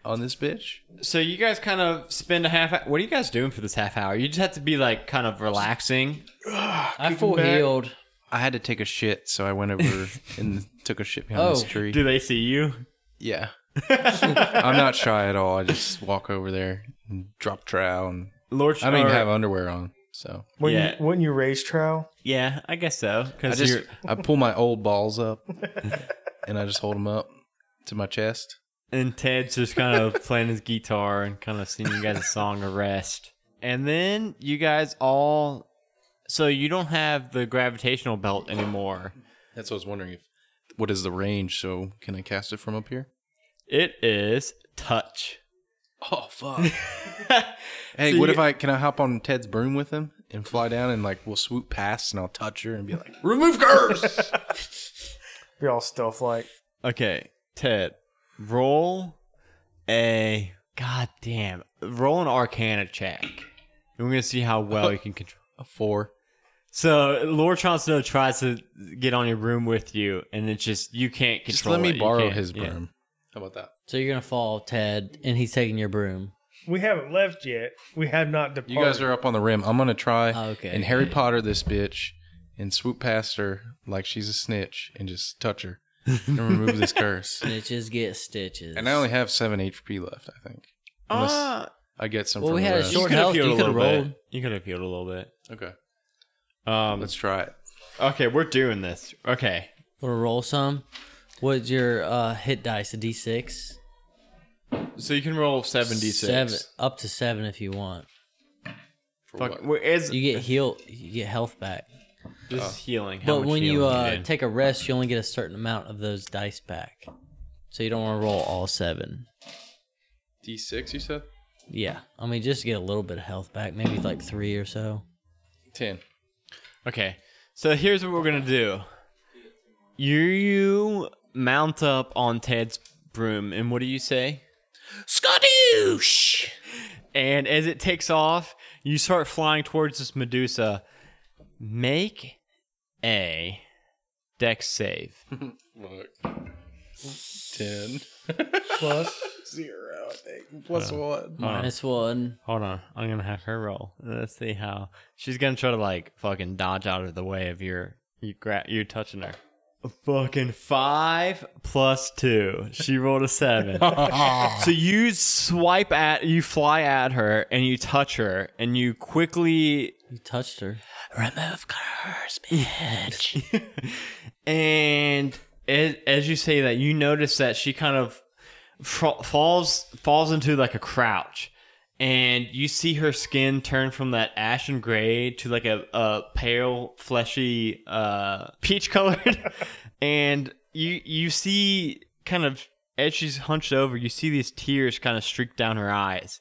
Speaker 6: on this bitch.
Speaker 1: So you guys kind of spend a half. What are you guys doing for this half hour? You just have to be like kind of relaxing.
Speaker 2: I full healed.
Speaker 6: I had to take a shit, so I went over and took a shit behind this
Speaker 2: Oh.
Speaker 6: tree.
Speaker 1: Do they see you?
Speaker 6: Yeah. I'm not shy at all. I just walk over there and drop trowel and
Speaker 1: Lord.
Speaker 6: I don't even
Speaker 1: or-
Speaker 6: have underwear on, so
Speaker 7: Wouldn't,
Speaker 1: Yeah.
Speaker 7: you, wouldn't you race trowel?
Speaker 1: Yeah, I guess so.
Speaker 6: I
Speaker 1: Because
Speaker 6: just I pull my old balls up and I just hold them up to my chest.
Speaker 1: and Ted's just kind of playing his guitar and kind of singing you guys a song of rest. And then you guys all, so you don't have the gravitational belt anymore.
Speaker 6: That's what I was wondering if what is the range? So can I cast it from up here?
Speaker 1: It is touch.
Speaker 6: Oh fuck! hey,
Speaker 1: So
Speaker 6: what
Speaker 1: you-
Speaker 6: if I can I hop on Ted's broom with him and fly down and like we'll swoop past and I'll touch her and be like, remove curse.
Speaker 7: Be all stealth like.
Speaker 1: Okay, Ted, roll a goddamn roll an Arcana check. And we're gonna see how well you can control.
Speaker 6: a four.
Speaker 1: So Lord Tronsno tries to get on your room with you, and it's just you can't
Speaker 6: Just
Speaker 1: control.
Speaker 6: let me
Speaker 1: it. You
Speaker 6: borrow
Speaker 1: can't-
Speaker 6: his
Speaker 1: yeah.
Speaker 6: broom. How about that?
Speaker 2: So you're gonna fall, Ted, and he's taking your broom.
Speaker 7: We haven't left yet. We have not departed.
Speaker 6: You guys are up on the rim. I'm gonna try
Speaker 2: okay.
Speaker 6: and Harry Potter this bitch and swoop past her like she's a snitch and just touch her and remove this curse.
Speaker 2: Snitches get stitches.
Speaker 6: And I only have seven HP left, I think. Unless
Speaker 1: Ah,
Speaker 6: I get some.
Speaker 2: Well,
Speaker 6: from
Speaker 2: we
Speaker 6: the
Speaker 2: had a
Speaker 6: rest.
Speaker 1: you
Speaker 2: short-
Speaker 1: could have
Speaker 2: health,
Speaker 1: healed a
Speaker 2: Uh, you
Speaker 1: little
Speaker 2: could've
Speaker 1: bit.
Speaker 2: rolled.
Speaker 1: You could have healed a little bit.
Speaker 6: Okay,
Speaker 1: Um,
Speaker 6: let's try it.
Speaker 1: okay, we're doing this. Okay,
Speaker 2: Wanna roll some? What's your uh, hit dice? A D6.
Speaker 1: so you can roll seventy six.
Speaker 2: Seven, up to seven if you want.
Speaker 6: For
Speaker 1: Fuck,
Speaker 6: what?
Speaker 1: where is
Speaker 2: You get heal. You get health back.
Speaker 1: this is healing? How
Speaker 2: But
Speaker 1: much
Speaker 2: when you
Speaker 1: healing
Speaker 2: uh,
Speaker 1: did?
Speaker 2: take a rest, you only get a certain amount of those dice back. So you don't want to roll all seven.
Speaker 6: D6, you said?
Speaker 2: Yeah, I mean just to get a little bit of health back, maybe like three or so.
Speaker 6: 10.
Speaker 1: Okay. So here's what we're gonna do. You, you mount up on Ted's broom, and what do you say?
Speaker 3: Skadoosh!
Speaker 1: And as it takes off, you start flying towards this Medusa. Make a deck save.
Speaker 6: Fuck. 10.
Speaker 7: plus.
Speaker 5: Zero, I think. Plus one.
Speaker 2: Minus one.
Speaker 1: Hold on, I'm gonna have her roll. Let's see how she's gonna try to like fucking dodge out of the way of your you gra- you're touching her. A fucking five plus two. She rolled a seven. so you swipe at you fly at her and you touch her and you quickly
Speaker 2: You touched her.
Speaker 3: Remove curse, bitch.
Speaker 1: and as, as you say that, you notice that she kind of fro- falls falls into like a crouch, and you see her skin turn from that ashen gray to like a, a pale, fleshy, uh, peach colored, and you you see kind of as she's hunched over, you see these tears kind of streak down her eyes.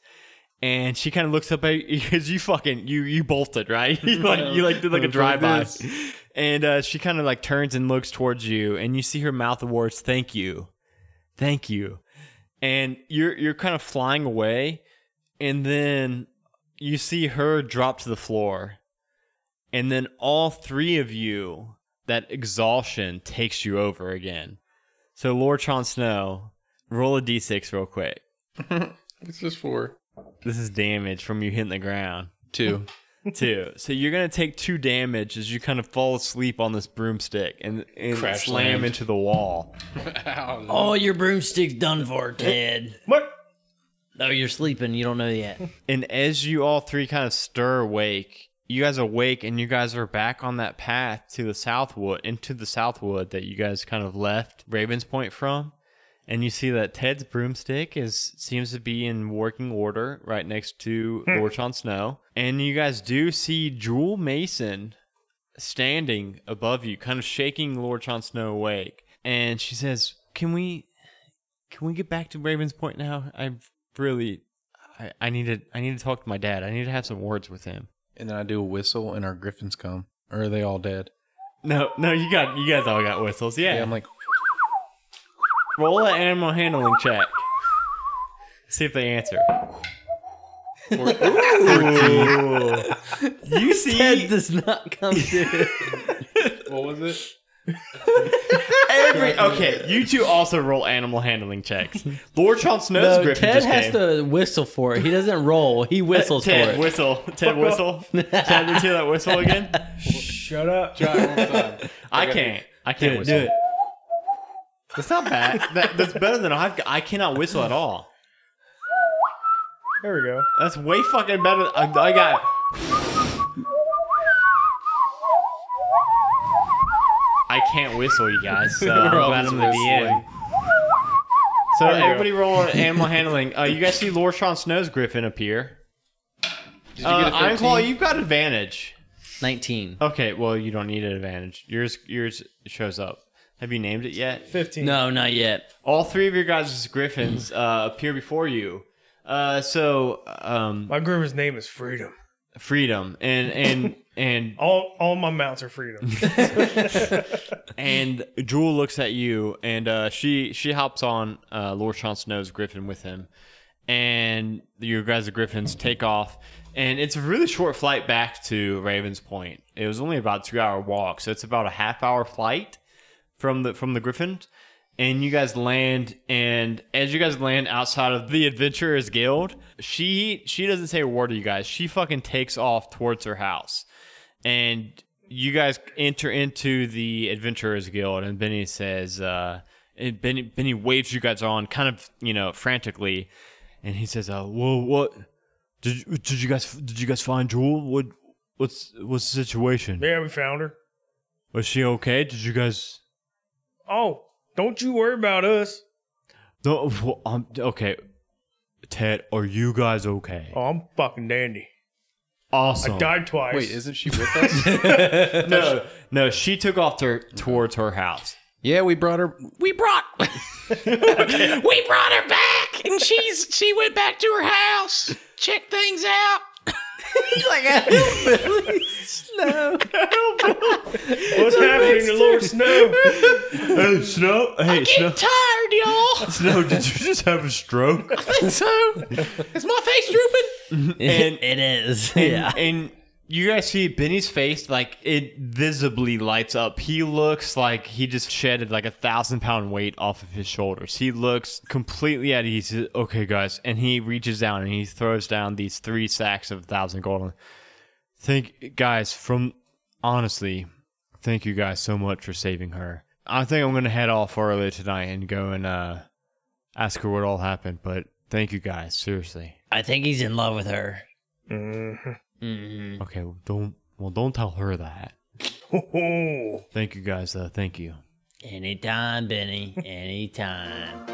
Speaker 1: And she kind of looks up at you because you fucking you you bolted right. you like you like did like a drive by, and uh, she kind of like turns and looks towards you, and you see her mouth the words "Thank you, thank you," and you're you're kind of flying away, and then you see her drop to the floor, and then all three of you that exhaustion takes you over again. So Lord Chon Snow, roll a d6 real quick.
Speaker 6: What's this for?
Speaker 1: This is damage from you hitting the ground.
Speaker 6: 2.
Speaker 1: Two. So you're gonna take two damage as you kind of fall asleep on this broomstick and, and
Speaker 6: Crash
Speaker 1: slam
Speaker 6: land.
Speaker 1: into the wall.
Speaker 2: Oh, your broomstick's done for, Ted.
Speaker 7: What?
Speaker 2: No, you're sleeping. You don't know yet.
Speaker 1: And as you all three kind of stir awake, you guys awake and you guys are back on that path to the Southwood, into the Southwood that you guys kind of left Ravens Point from. And you see that Ted's broomstick is seems to be in working order right next to Lord Sean Snow. And you guys do see Jewel Mason standing above you, kind of shaking Lord Sean Snow awake. And she says, Can we can we get back to Ravens Point now? I've really I, I need to I need to talk to my dad. I need to have some words with him.
Speaker 6: And then I do a whistle and our griffins come. Or are they all dead?
Speaker 1: No, no, you got you guys all got whistles. Yeah.
Speaker 6: Yeah, I'm like,
Speaker 1: Roll an animal handling check. See if they answer. Ooh. You see
Speaker 2: Ted does not come to.
Speaker 5: What was it?
Speaker 1: every okay. You two also roll animal handling checks. Lord Chomp Snow's
Speaker 2: no,
Speaker 1: griffin
Speaker 2: Ted
Speaker 1: just
Speaker 2: has
Speaker 1: came.
Speaker 2: to whistle for it. He doesn't roll. He whistles for
Speaker 1: Ted
Speaker 2: it.
Speaker 1: whistle. Ted whistle. Ted, let's hear that whistle again.
Speaker 7: Shut up.
Speaker 5: Try it one more time.
Speaker 1: I can't. I can't whistle.
Speaker 2: do it.
Speaker 1: That's not bad. That, that's better than I've. got- I cannot whistle at all.
Speaker 4: There we go.
Speaker 1: That's way fucking better. I, I got. I can't whistle, you guys. So I'm glad I'm at the end. So everybody roll on animal handling. Uh, you guys see Lortron Snow's Griffin appear.
Speaker 6: Did
Speaker 1: Uh,
Speaker 6: a
Speaker 1: Ironclaw, you've got advantage.
Speaker 2: 19.
Speaker 1: Okay, well you don't need an advantage. Yours yours shows up. Have you named it yet?
Speaker 4: 15.
Speaker 2: No, not yet.
Speaker 1: All three of your guys' griffins uh, appear before you. Uh, so um,
Speaker 7: My groomer's name is Freedom.
Speaker 1: freedom and and and
Speaker 7: All all my mounts are Freedom.
Speaker 1: and Jewel looks at you, and uh, she she hops on uh, Lord Sean Snow's Griffin with him, and your guys the Griffins take off, and it's a really short flight back to Ravens Point. It was only about two hour walk, so it's about a half hour flight from the from the Griffin, and you guys land, and as you guys land outside of the Adventurers Guild, she she doesn't say a word to you guys. She fucking takes off towards her house and you guys enter into the adventurers guild and benny says uh and benny benny waves you guys on kind of you know frantically and he says uh whoa what did, did you guys did you guys find jewel what what's what's the situation
Speaker 7: yeah, we found her.
Speaker 1: was she okay did you guys
Speaker 7: Oh, don't you worry about us.
Speaker 1: no well, um, okay ted are you guys okay
Speaker 7: Oh, I'm fucking dandy.
Speaker 1: awesome
Speaker 7: I died twice.
Speaker 6: Wait, isn't she with us?
Speaker 1: no no she took off to, towards her house
Speaker 6: yeah, we brought her.
Speaker 3: We brought We brought her back and she's she went back to her house. Check things out.
Speaker 7: What's happening to Lord Snow?
Speaker 1: hey snow hey
Speaker 3: Getting tired, y'all.
Speaker 1: snow did you just have a stroke
Speaker 3: I think so. Is my face drooping?
Speaker 1: And-
Speaker 2: it is. yeah.
Speaker 1: And, and you guys see Benny's face, like it visibly lights up. He looks like he just shedded like a thousand pound weight off of his shoulders. He looks completely at ease. He's, Okay, guys. And he reaches down and he throws down these three sacks of thousand gold. Thank guys, from honestly, thank you guys so much for saving her. I think I'm gonna head off early tonight and go and uh ask her what all happened, but thank you guys, seriously.
Speaker 2: I think he's in love with her.
Speaker 7: Mhm.
Speaker 2: Mm.
Speaker 1: Okay, well, don't well don't tell her that.
Speaker 7: Oh,
Speaker 1: Thank you guys. Uh, thank you.
Speaker 2: Anytime, Benny. Anytime.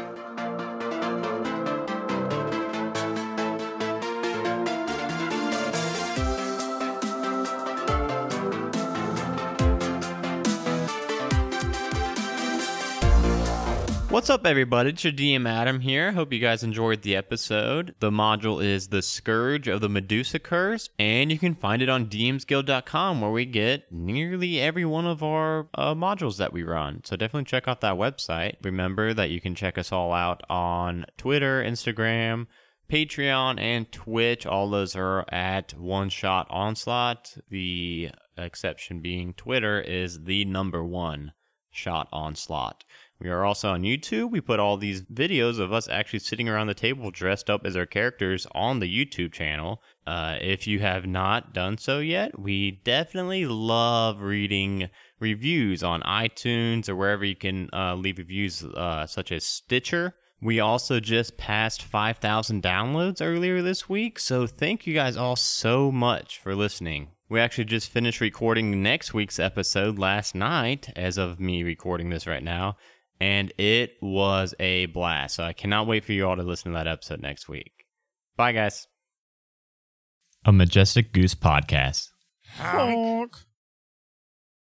Speaker 1: What's up, everybody? It's your DM Adam here. Hope you guys enjoyed the episode. The module is The Scourge of the Medusa Curse, and you can find it on dmsguild.com where we get nearly every one of our uh, modules that we run. So definitely check out that website. Remember that you can check us all out on Twitter, Instagram, Patreon and Twitch. All those are at One Shot Onslaught. The exception being Twitter is the number one shot onslaught. We are also on YouTube. We put all these videos of us actually sitting around the table dressed up as our characters on the YouTube channel. Uh, if you have not done so yet, we definitely love reading reviews on iTunes or wherever you can uh, leave reviews, uh, such as Stitcher. We also just passed 5,000 downloads earlier this week, so thank you guys all so much for listening. We actually just finished recording next week's episode last night, as of me recording this right now, and it was a blast. So I cannot wait for you all to listen to that episode next week. Bye, guys. A Majestic Goose Podcast.
Speaker 7: honk.